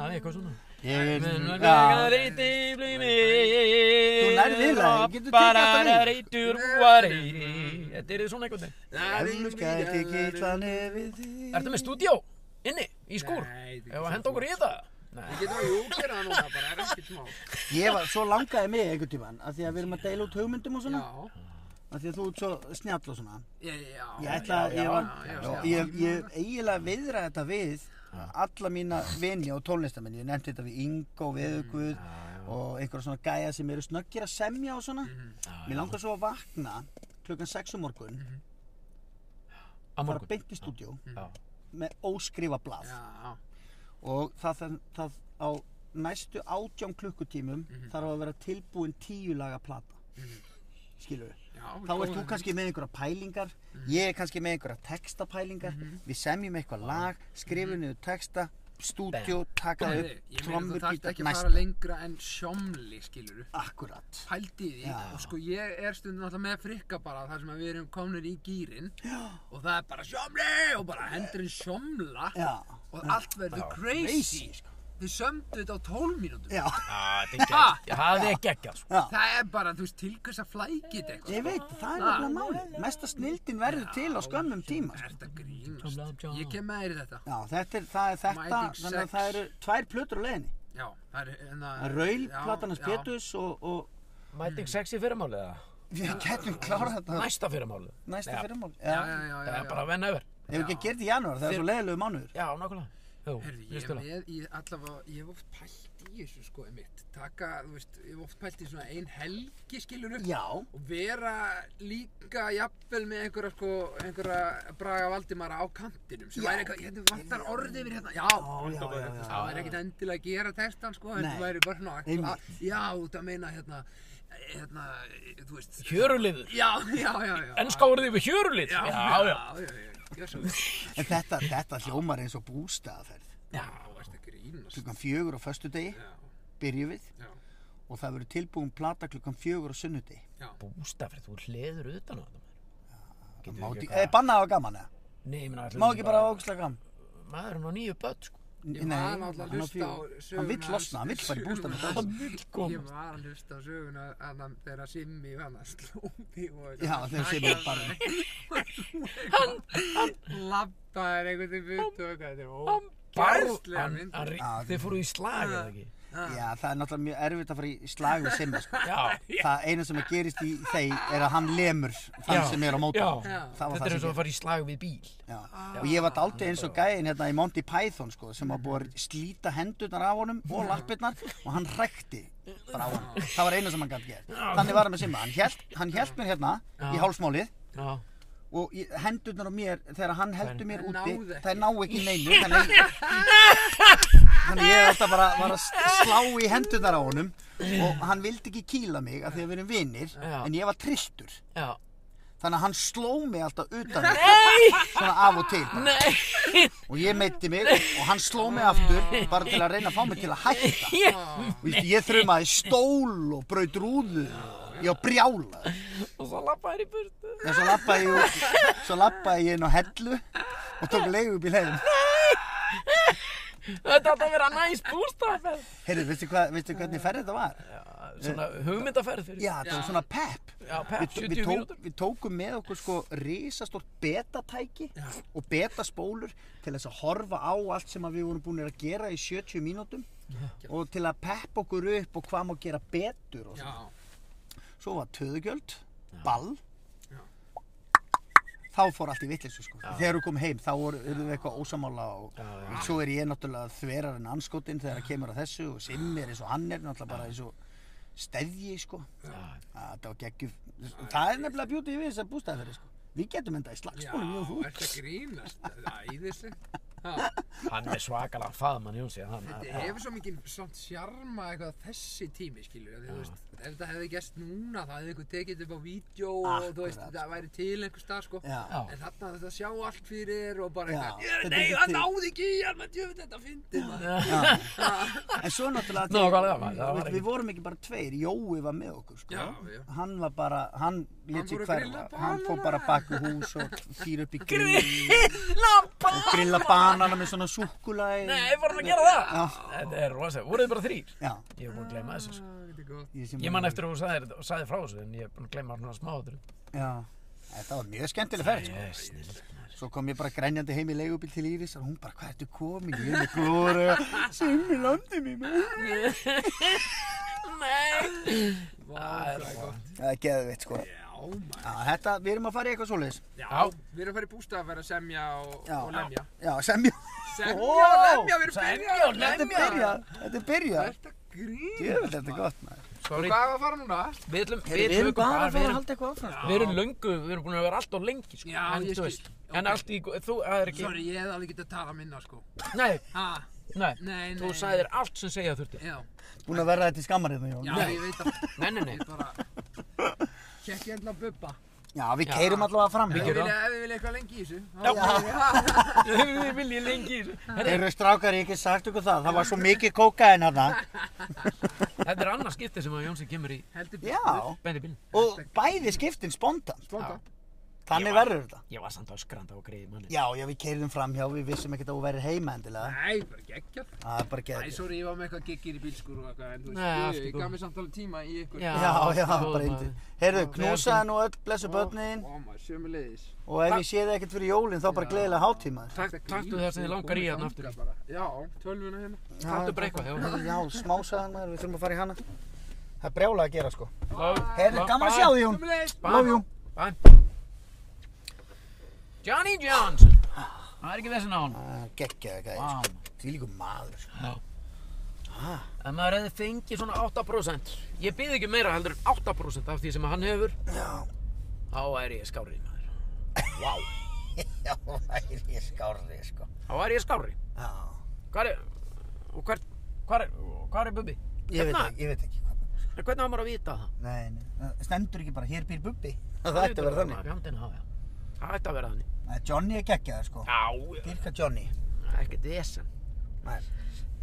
Eitthvað svona Ég vil, Leðunan fluga já, reyti flug minn Þú nærð við það, getur tekið þetta Bara niður. reytur búa reyti Þetta er svona einhvern veginn ef þú gæti kýtla nefið þig. Ertu með stúdíó? Inni? Í skúr? Nei, þetta er Ef að henda okkur í það? Nei Getur að júkera það núna bara, er ekkert smá Ég var, svo langaði mig einhvern tíman, af því að við erum að deila út hugmyndum og svona, Já, af því að þú ert svo snjall og svona. já, já Ég ætla að ég var, já, já, já. ég, ég eiginlega viðra þetta við alla mína vini og tónlistamenn, ég nefndi þetta við Ingo, Mm, Veðugud og einhverja svona gæja sem eru snöggir að semja og svona. Mhm. Mér langar svo að vakna klukkan 6 um morgun, Mhm. Á fara morgun beint í stúdjó Já. með óskrifa blað Já, og það, það, það á Mhm. næstu átján klukkutímum þarf að vera tilbúin tíu laga plata. skilur við. Já, Þá við ert komum þú að- kannski með einhverja pælingar, Mhm. ég er kannski með einhverja textapælingar, við semjum eitthvað lag, skrifum niður texta, stúdjó, taka það Heyrðu, upp, Mhm. Ég meina trommur, þú þarft gítar, ekki að næst. fara lengra en sjómli, skiluru. Akkurat. Pældi í því Já. og sko ég er stundum alltaf með frikka bara þar sem að við erum komnir í gýrin og það er bara sjómli og bara hendurinn sjómla Já. og allt verður crazy. sko. Þið sömdu þetta á 12 mínútum. Já, Ha? Það er geggjað, sko. já. Það er bara, þú veist, til hvers að flækja þetta eitthvað. Ég veit, það er Ha. nefnilega málið. Mesta snildin verður til á skömmum tíma. Ah. sko. Er þetta grínast? Ég kem með þér í þetta. Já, þetta er, það er þetta, Mæting þannig að sex. það eru tvær plötur á leiðinni. Já, það er, hérna, en það Það er Raul, platan hans Péturs og, og Mæting sex í fyrramálið, eða? við getum klárað þetta Næsta fyrramálið. næsta fyrirmál. Já, já, já, já. Það já. er bara venn över. Ef ekki að gera þetta í janúar, það er svo leiðilegu mánuður. Já, nákvæmlega. Jú, Herði, ég er hlustulega. með í allavega, ég hef oft pælt í þessu sko, mitt. Taka, þú veist, ég hef oft pælt í svona ein helgi, skilur upp. Já, Og vera líka jafnvel með einhverja, sko, einhverja braga valdimara á kantinum. Sem Já. væri eitthvað, hérna vantar orðið mér hérna. Já, já, já, já, Það væri ekkert endilega að gera textan, sko, en Nei. þú væri bara svona að kla- Einmitt. Já, þú að meina, hérna, hérna, þú veist. Hjörulifur. Já, já, já, já. Ennska orðið yfir hjörulif. Já, já, já, já, já, gjör svo vel. en þetta, þetta hljómar eins og bústæðaferð. Já, ertu að grínast. Klukkan fjögur á föstudegi Já, byrjum við já, og það verður tilbúin plata klukkan fjögur á sunnudegi. já. Bústafrið, þú hliður utan á þetta. Það Getur má ekki ekki, Eh, eitthvað- eða banna það gaman eða? Nei, ég meina, ætli Má hún ekki bara áksla gaman? Maðurinn á nýju börn, sko. Ég Nei, var hann á náttúrulega að hlusta á fjögur. söguna Hann vill losna, hann vill bara í bústæðaferð. Hann vill Ég var að hlusta á söguna annan þegar Simmi vann að slóði og Já, þegar sem er bara... labbaðir einhvern veginn butu og eitthvað, þetta er Hann óbærslega hann- mynd. hann rí- Já, Þið fóru í slag, eða ekki? Já, það er náttúrulega mjög erfitt að fara í slag við Simma, sko. Já. Það eina sem að gerist í þeim er að hann lemur þann Já. sem er á móti. Já. Það var Þetta er það eins og að sem gerist. fara í slag við bíl. Já. Og ég var daldið eins og gæðin hérna í Monty Python, sko, sem var búið að slíta hendurnar af honum og lappirnar og hann hrækti bara á honum. Það var eina sem hann gæti gert. Þannig var hann með Simma. Hann hélt, hann hélt mér hérna Já. í hálsmálið Já. og ég- hendurnar á mér, þegar hann heldur mér Þær úti, náðu ekki. þær ná ekki neinu, þannig að ég- þannig ég alltaf bara var að s- slá í hendurnar á honum og hann vildi ekki kýla mig af því að við erum vinir, Já. en ég var trilltur. Já. Þannig að hann sló mig alltaf utan Nei! svona af og til bara. Nei, og ég meitti mig og hann sló mig aftur bara til að reyna að fá mig til að hætta. ég, Þú veist, Ég þrumaði stól og braut rúðu, ég var brjálaður. og svo lappaði í burtu. Já, svo lappaði ég, út- svo lappaði ég inn á hellu og tók leigubíl heim. Þetta átti að vera næs bústafell. Heyrðu, veistu, hva, veistu hvernig ferð þetta var? Svona hugmyndaferð fyrir. Eh, Já, þetta var svona pep. Já, pepp, Við, 70 við, tók, mínútur. við tókum með okkur sko risastort betatæki og betaspólur til þess að horfa á allt sem að við vorum búin að gera í 70 mínútum og til að peppa okkur upp og hvað má gera betur og Já, svona. Svo var töðugjöld, ball. Já. Þá fór allt í vitleysu sko. Þegar við komum heim þá voru- urðum við eitthvað ósamála og, og svo er ég náttúrulega þverar en anskotinn þegar það kemur að þessu og Simmi er eins og hann er náttúrulega bara eins og steðji sko. Það var geggjum. Það er nefnilega bjútið við þessar bústæðferði sko. Við getum endað í já, slagsmálum ég og þú. ertu að grínast, það er æðislegt. Ha, Hann er svakalega faðmann Jónsi. Hann, Þetta hefur svo mikið samt sjarma eitthvað þessi tími, skilur, því, þú veist, ef þetta hefði gerst núna, þá hefði einhver tekið þetta upp á vídeo og þú veist, Akkurat. það væri til einhver stað, sko. Já. Já. En þarna þetta sjá allt fyrir og bara Já, eitthvað, þetta "Ég- er nei, ekki það til." náði ekki í hann, menn djöfull þetta fyndið maður. En svo náttúrulega, Ná, hvað er það? Það við, var við, ekki- vorum ekki bara tveir, Jói var með okkur sko. Já, já. Hann var bara, hann Hann lét fór sig að hverfa, grilla hann fór banana. bara baku hús og fyrir upp í grill. og grilla banana með svona súkkulaði. Nei, fórum að gera það. Já. Þetta er rosa. Voruð þið bara þrýr? Já, Ég er búin að gleyma þessu. sko. Ah, Þetta er gott. ég, sem- Ég man eftir að þú sagði, sagði frá þessu, en ég er búin að gleyma svona smáður. Já, þetta var mjög skemmtileg ferð. Sko. Yes, snillt. Svo kom ég bara grænjandi heim í leigubíl til Íris og hún bara, hvað ertu komin? Ég er með glóru, sem er landið mér. maður." Vá, það er gott. Það er geðvitt, sko. Já, maður. Já, þetta, við erum að fara í eitthvað svoleiðis. Já, við erum að fara í bústað að vera að semja og, Já. og lemja. Já, semja. Semja Ó, og lemja, við erum semja byrjað og að Þetta er lemja. byrjað, þetta er byrjað. Þetta grín. Jöfnveld, þetta er gott, maður. Sorry. Hvað er að fara núna? Við ætlum, Heyrðu, við tökum bara, við erum, halda eitthvað áfram, við erum löngu, við erum búin að vera allt of lengi, sko. Já, en, þú ég skil. veist, En allt í, þú, það er ekki, Sorry, ég hef alveg getið að tala minna, sko. nei, Ha, nei, nei, nei. þú sagðir allt sem segja þurfti. Já, Búin að verða þetta í skammarinn, hérna, Jón. já, ég veit að Nei, nei, nei. ég bara... Kekk ég enda á bubba. Já, við keirum allavega fram Ef hjá. þið gerum vilja, ef þið vilja eitthvað lengi í þessu. þá Já. viljum við- Við viljum lengi í þessu. Eru strákar, ég hef ekki sagt ykkur það, það var svo mikið kókaðin hana. Þetta er annað skipti sem að Jónsson kemur í Heldur betur. Já, bendi bílinn. og bæði skiptin spontant. Spontan. Þannig verður þetta. Ég var samt öskranda og greiði manni. Já, já, við keirðum fram hjá, við vissum ekkert að þú væri heima endilega. Nei, bara geggjað. Það er bara Æ, geðið. sorry, ég var með eitthvað geggir í bílskur og eitthvað, en þú Nei, allt í veist, ég- ég góðu. gaf mér samt alveg tíma í ykkur. Já. Já, já, góður bara maður. yndi. Heyrðu, knúsaði nú öll, blessu Ó, börnin Ó, maður, sömuleiðis. og ef ég sé það ekkert fyrir jólinn þá bara gleðilega hátímaður. Tak- Þetta Taktu grín, það sem þið ég langar í komið hann þangað aftur. bara. Já, tölvuna hérna. Taktu bara eitthvað, já. Heyrðu, Já, smásaðan maður, við þurfum að fara í hana. Það er brjálega að gera sko. Love- Heyrðu, love- gaman að bye. sjá því Jón. Sömuleiðis. Love you. Bye. Johnny Johnson. Það er ekki þessi nán. Gekkjaði gæði Vá. Ah, sko. Því líku maður sko. En maður hefði fengið svona 8%. Ég byði ekki meira heldur en 8% af því sem hann hefur. Já. Þá er ég skárið maður. Vá. Já, væri ég skárri sko. Þá er ég skárið. Já. Hvað er, og hver, hvað er, hvað er Bubbi? Ég veit Hérna. ekki, ég veit ekki hvað. En Hvernig á maður að vita það? Nei, nei. Það Stendur ekki bara, hér býr bubbi. Það ætti að vera þannig. Fjöndin, já, já. Það ætti að vera þannig. Nei, Johnny er geggjaði sko. Já, já. Dyrka Johnny. Það er ekkert vesen. Nei.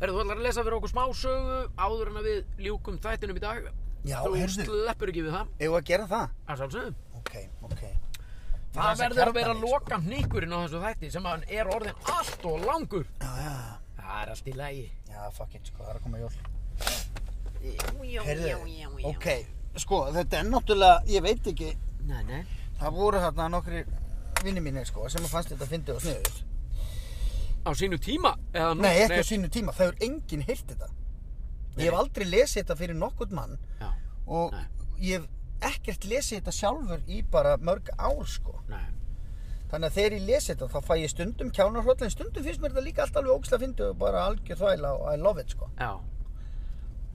Herðu, þú ætlar að lesa fyrir okkur smásögu áður en að við ljúkum þættinum í dag. Já, þú heyrðu. sleppur ekki við það, Eigum við að gera það? að sjálfsögum. Ok, ok. Það þessa verður að vera kjartaleik, sko. loka hnýkurinn á þessu þætti sem hann er orðin allt og langur. Já, já. Það er allt í lægi. Já, fuck it, sko, það er að koma jól. Já, Heyrðu, ok, sko, þetta er náttúrulega, ég veit ekki, Nei, nei. það voru þarna nokkri vinni mínir, sko, sem að fannst þetta fyndið og sniður. Á sínu tíma? Eða nú? Nei, ekki á sínu tíma, það hefur enginn heyrt þetta. Ég hef aldrei lesið þetta fyrir nokkurt mann Já, og Nei. ég hef ekkert lesið þetta sjálfur í bara mörg ár, sko. nei. Þannig að þegar ég lesi þetta, þá fæ ég stundum kjánarhroll, en stundum finnst mér þetta líka allt alveg ógislega fyndið og bara algjör þvæla og I love it, sko. Já,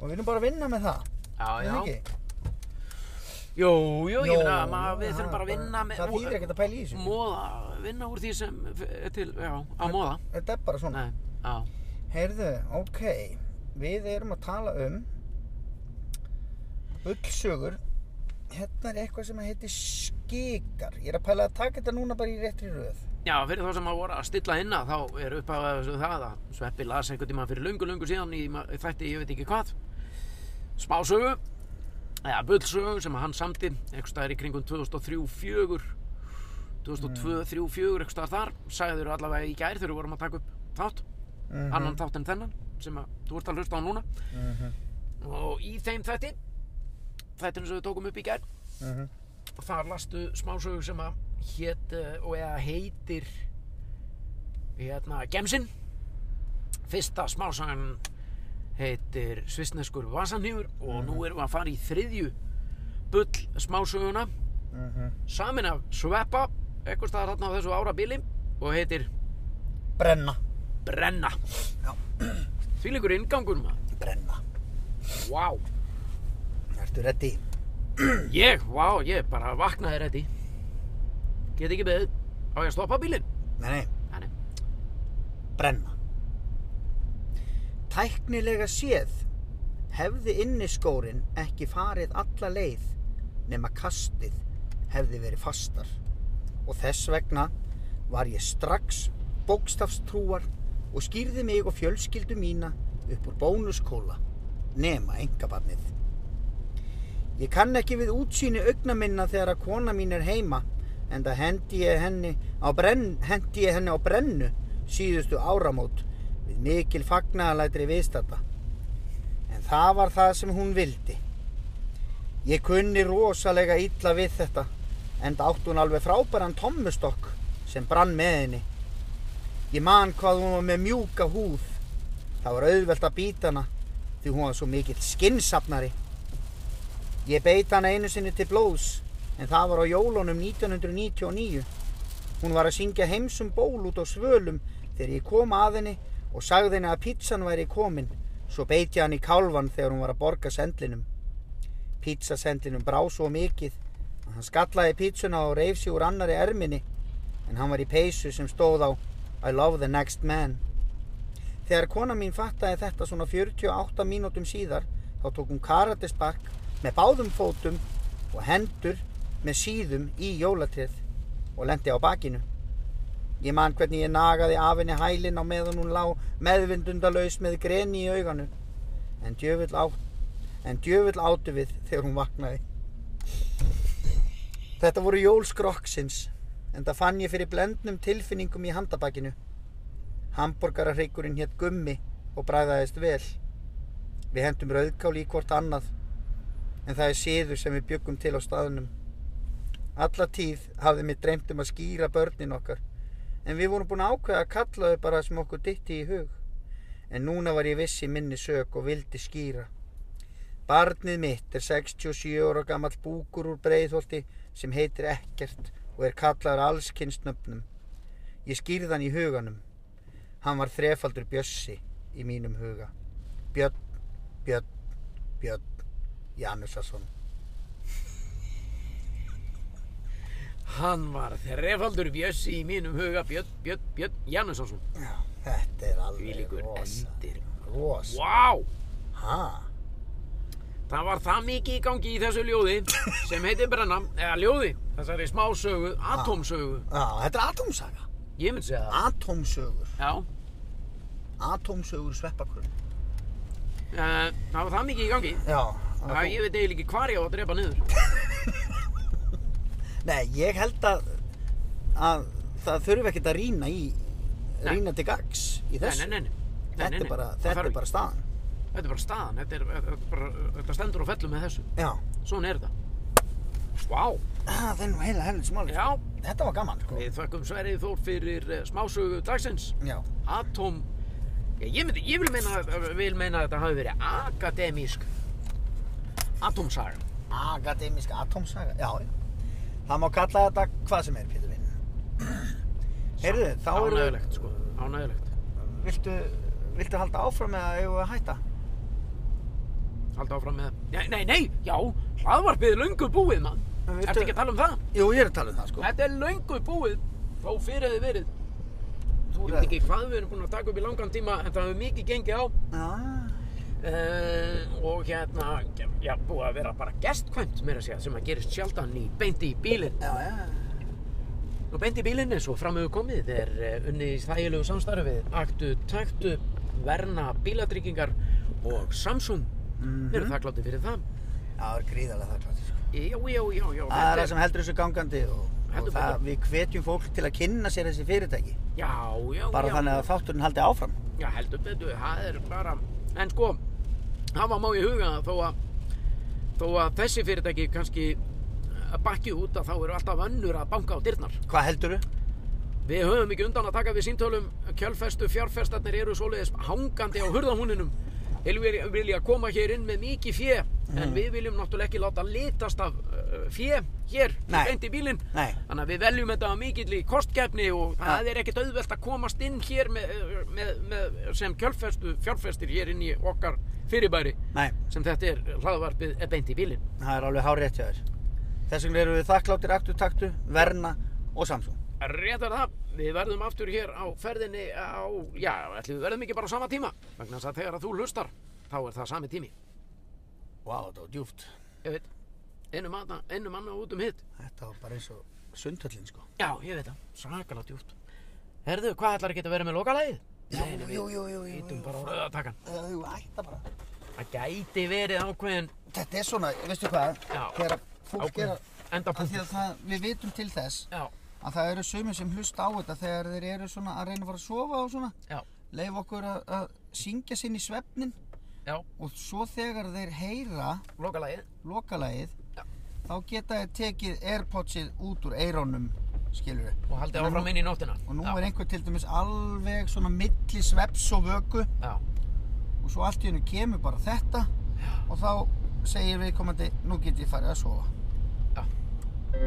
Og við erum bara að vinna með það, já, er já. það ekki? Jú, jú, ég Jó, meina, maður- við já, þurfum bara að bara- vinna með... það þýðir ekkert að pæla í þessu. Móða, vinna úr því sem er til, já, að móða. Þetta er bara svona. Nei, já. Heyrðu, ok, við erum að tala um bullsögur. Hérna er eitthvað sem heitir skikar. Ég er að pæla að taka þetta núna bara í réttri röð. Já, fyrir þá sem að voru að stilla inna, þá er upphafað þessu það að Sveppi las einhvern tíma fyrir lungu, lungu síðan í ma- þætti, ég veit ekki hvað, smásögu, eða bullsögu sem hann samti, einhvers staðar í kringum 2003-04, 2002-04, einhvers staðar þar, sagður allavega í gær þegar við vorum að taka upp þátt, Mhm. annan þátt en þennan, sem að þú ert að hlusta á núna. Og í þeim þætti, þættinu sem við tókum upp í gær, Mhm. þar lastu smásögu sem að hét, eh, og eða heitir hérna, Gemsin fyrsta smásagan heitir Svissneskur Vasanhýfur og nú erum við að fara í þriðju bull smásöguna mhm, samin af Sveppa eitthvað staðar þarna á þessu árabili og heitir Brenna. Brenna því líkur inngangur maður Brenna. Vá, Ertu ready? ég, vá, ég bara vaknaði rétti get ekki beðið á ég að stoppa bílinn Nei, nei. Nei, nei. Brenna. Tæknilega séð hefði inniskórin ekki farið alla leið nema kastið hefði verið fastar og þess vegna var ég strax bókstafstrúar og skýrði mig og fjölskyldu mína upp úr bónuskóla nema engabarnið. Ég kann ekki við útsýni augna minna þegar að kona mín er heima en það hendi ég henni á, brenn, hendi ég henni á brennu síðustu áramót við mikil fagnaðalætri viðstata. En það var það sem hún vildi. Ég kunni rosalega illa við þetta en það átti hún alveg frábæran tommustokk sem brann með henni. Ég man hvað hún var með mjúka húð. Það var auðvelt að býta hana því hún var svo mikill skinnsafnari. Ég beit hana einu sinni til blóðs, en það var á jólunum 1999. Hún var að syngja heimsum ból út á svölum þegar ég kom að henni og sagði henni að pizzan væri komin. Svo beit ég hann í kálvan þegar hún var að borga sendlinum. Pizzasendlinum brá svo mikið að hann skallaði pizzuna og reif sig úr annari erminni en hann var í peysu sem stóð á I love the next man. Þegar kona mín fattaði þetta svona 48 mínútum síðar þá tók hún karatespark með báðum fótum og hendur með síðum í jólatrið og lendi á bakinu. Ég man hvernig ég nagaði af henni hælinn á meðan hún lá meðvindundalaus með greni í auganu. En djöfull, á, en djöfull áttu við þegar hún vaknaði. Þetta voru jól skrokksins, en það fann ég fyrir blendnum tilfinningum í handabakinu. Hamborgararreikurinn hétt gummi og bræðaðist vel. Við hendum rauðkál í hvort annað, en það er siður sem við byggum til á staðnum. Alla tíð hafði mér dreymt um að skýra börnin okkar, en við vorum búin að ákveða að kalla þau bara sem okkur ditti í hug. En núna var ég vissi minni sög og vildi skýra. Barnið mitt er 67 ára gamall búkur úr breiðholti sem heitir ekkert og er kallaður allskynnsnöfnum. Ég skýrði hann í huganum. Hann var þrefaldur Bjössi í mínum huga. Björn, Björn, Björn, Janusarsson. Hann var þrefaldur bjössi í mínum huga Björn, Björn, Björn, Janusson Þetta er Því alveg líkur rosa. endir Rosa. Vá, Ha? það var það mikið í gangi í þessu ljóði sem heitir Brenna, eða ljóði þessari smásögu, atómsögu Já, þetta er atómsaga. ég myndi segja það Atómsögur. Já, Atómsögur sveppakrun. eh, það var það mikið í gangi Já. Það, ég veit eiginlega ekki hvar ég á að drepa niður Nei, ég held að, að það þurfi ekkert að rýna í, Nei. rýna til gags í Nei, þessu. nei, nei, nei. nei Þetta nei, er bara, nei. Það þetta þarf er ekki. bara staðan. Þetta er bara staðan, þetta, er, þetta, er bara, þetta stendur og fellur með þessu Já. Svona er þetta Vá, Ah, það er nú heila helvits máli. já, Þetta var gaman, sko. við þökkum Sverrið Þór fyrir eh, smásögu dagsins Já. Atóm Já, ég, myndi, ég vil, meina, vil meina að þetta hafi verið akademísk Atómsaga Akademísk atómsaga. Já, já. Það má kalla þetta hvað sem er, Pétur minn. Heyrðu, þá eru, Ánægulegt, sko, ánægulegt viltu, viltu halda áfram eða eigum við að hætta? Halda áfram með Nei, nei, nei, já, hlaðvarpið er löngu búið, mann En veitu- Ertu ekki að tala um það? Jú, ég er að tala um það, sko. Þetta er löngu búið Þó fyrir þið verið Ég veit ekki hvað við erum búin að taka upp í langan tíma En það hefur mikið gengið á Já, uh, Og hérna, já, búið að vera bara gestkvæmt Meira að segja, sem að gerist sjaldan í Beinti í bílinn já, já. Og beinti í bílinni svo framöfu komið er eh, unnið í þægilegu samstarfið Aktu, taktu, verna, bíladryggingar og Samsung Mhm. Við erum þakklátti fyrir það Já, það er gríðarlega þakklátt, sko. Já, já, já, já Það er þetta það sem heldur þessu gangandi og, og Heldur það, betur. við hvetjum fólk til að kynna sér þessi fyrirtæki. Já, já, Bara já þannig að þátturinn haldi áfram. Já, heldur betur, það er bara En sko, hafa má í huga að þó að þó að þessi fyrirtæki kannski eh, bakki út að þá eru alltaf önnur að banka á dyrnar Hvað heldur þú? Við höfum ekki undan að taka við síntölum kjölfestu, fjárfestarnir eru svoleiðis hangandi á hurðahúninum Hilvir vilja koma hér inn með mikið fjö en Mm. við viljum náttúrulega ekki láta litast af uh, fjö hér Nei. beint í bílinn Nei. þannig að við veljum þetta af mikill í kostgefni og það er ekkit auðvelt að komast inn hér með, eh, með, með, sem kjölfestu fjárfestir hér inn í okkar fyrirbæri Nei, sem þetta er hlaðvarpið eh, beint í bílinn það er alveg hárétt hjá þér. Þess vegna erum við þakkláttir aktu taktu, verna og Samsung. Réttar það, við verðum aftur hér á ferðinni á, já, ætlum við verðum ekki bara á sama tíma vegna þess að þegar að þú hlustar, þá er það sami tími Vá, wow, þetta var djúft. Ég veit, innum manna, innum manna og út um hitt Þetta var bara eins og sundhöllin, sko. Já, ég veit það, svakalega djúpt Herðu, hvað ætlar að geta verið með lokalægið? Jú, jú, jú, jú, jú. Ítum bara á rauðatakan Það er ætta bara. Það gæti verið ákveðin Þetta er svona, veistu hvað, Já. þegar fólk er að, enda að því að það, við vitum til þess Já, að það eru sumir sem hlusta á þetta þegar þeir eru svona að reyna að fara að sofa og svona. já, leif okkur að, að syngja sinn í svefnin já, og svo þegar þeir heyra lokalægið lokalagið Já. þá geta þeir tekið airpodsið út úr eirónum skilur við og haldið áfram inn í nóttina og nú já, er einhver til dæmis alveg svona milli sveps og vöku Já, og svo allt í hennu kemur bara þetta og þá segir viðkomandi nú get ég farið að sofa Já.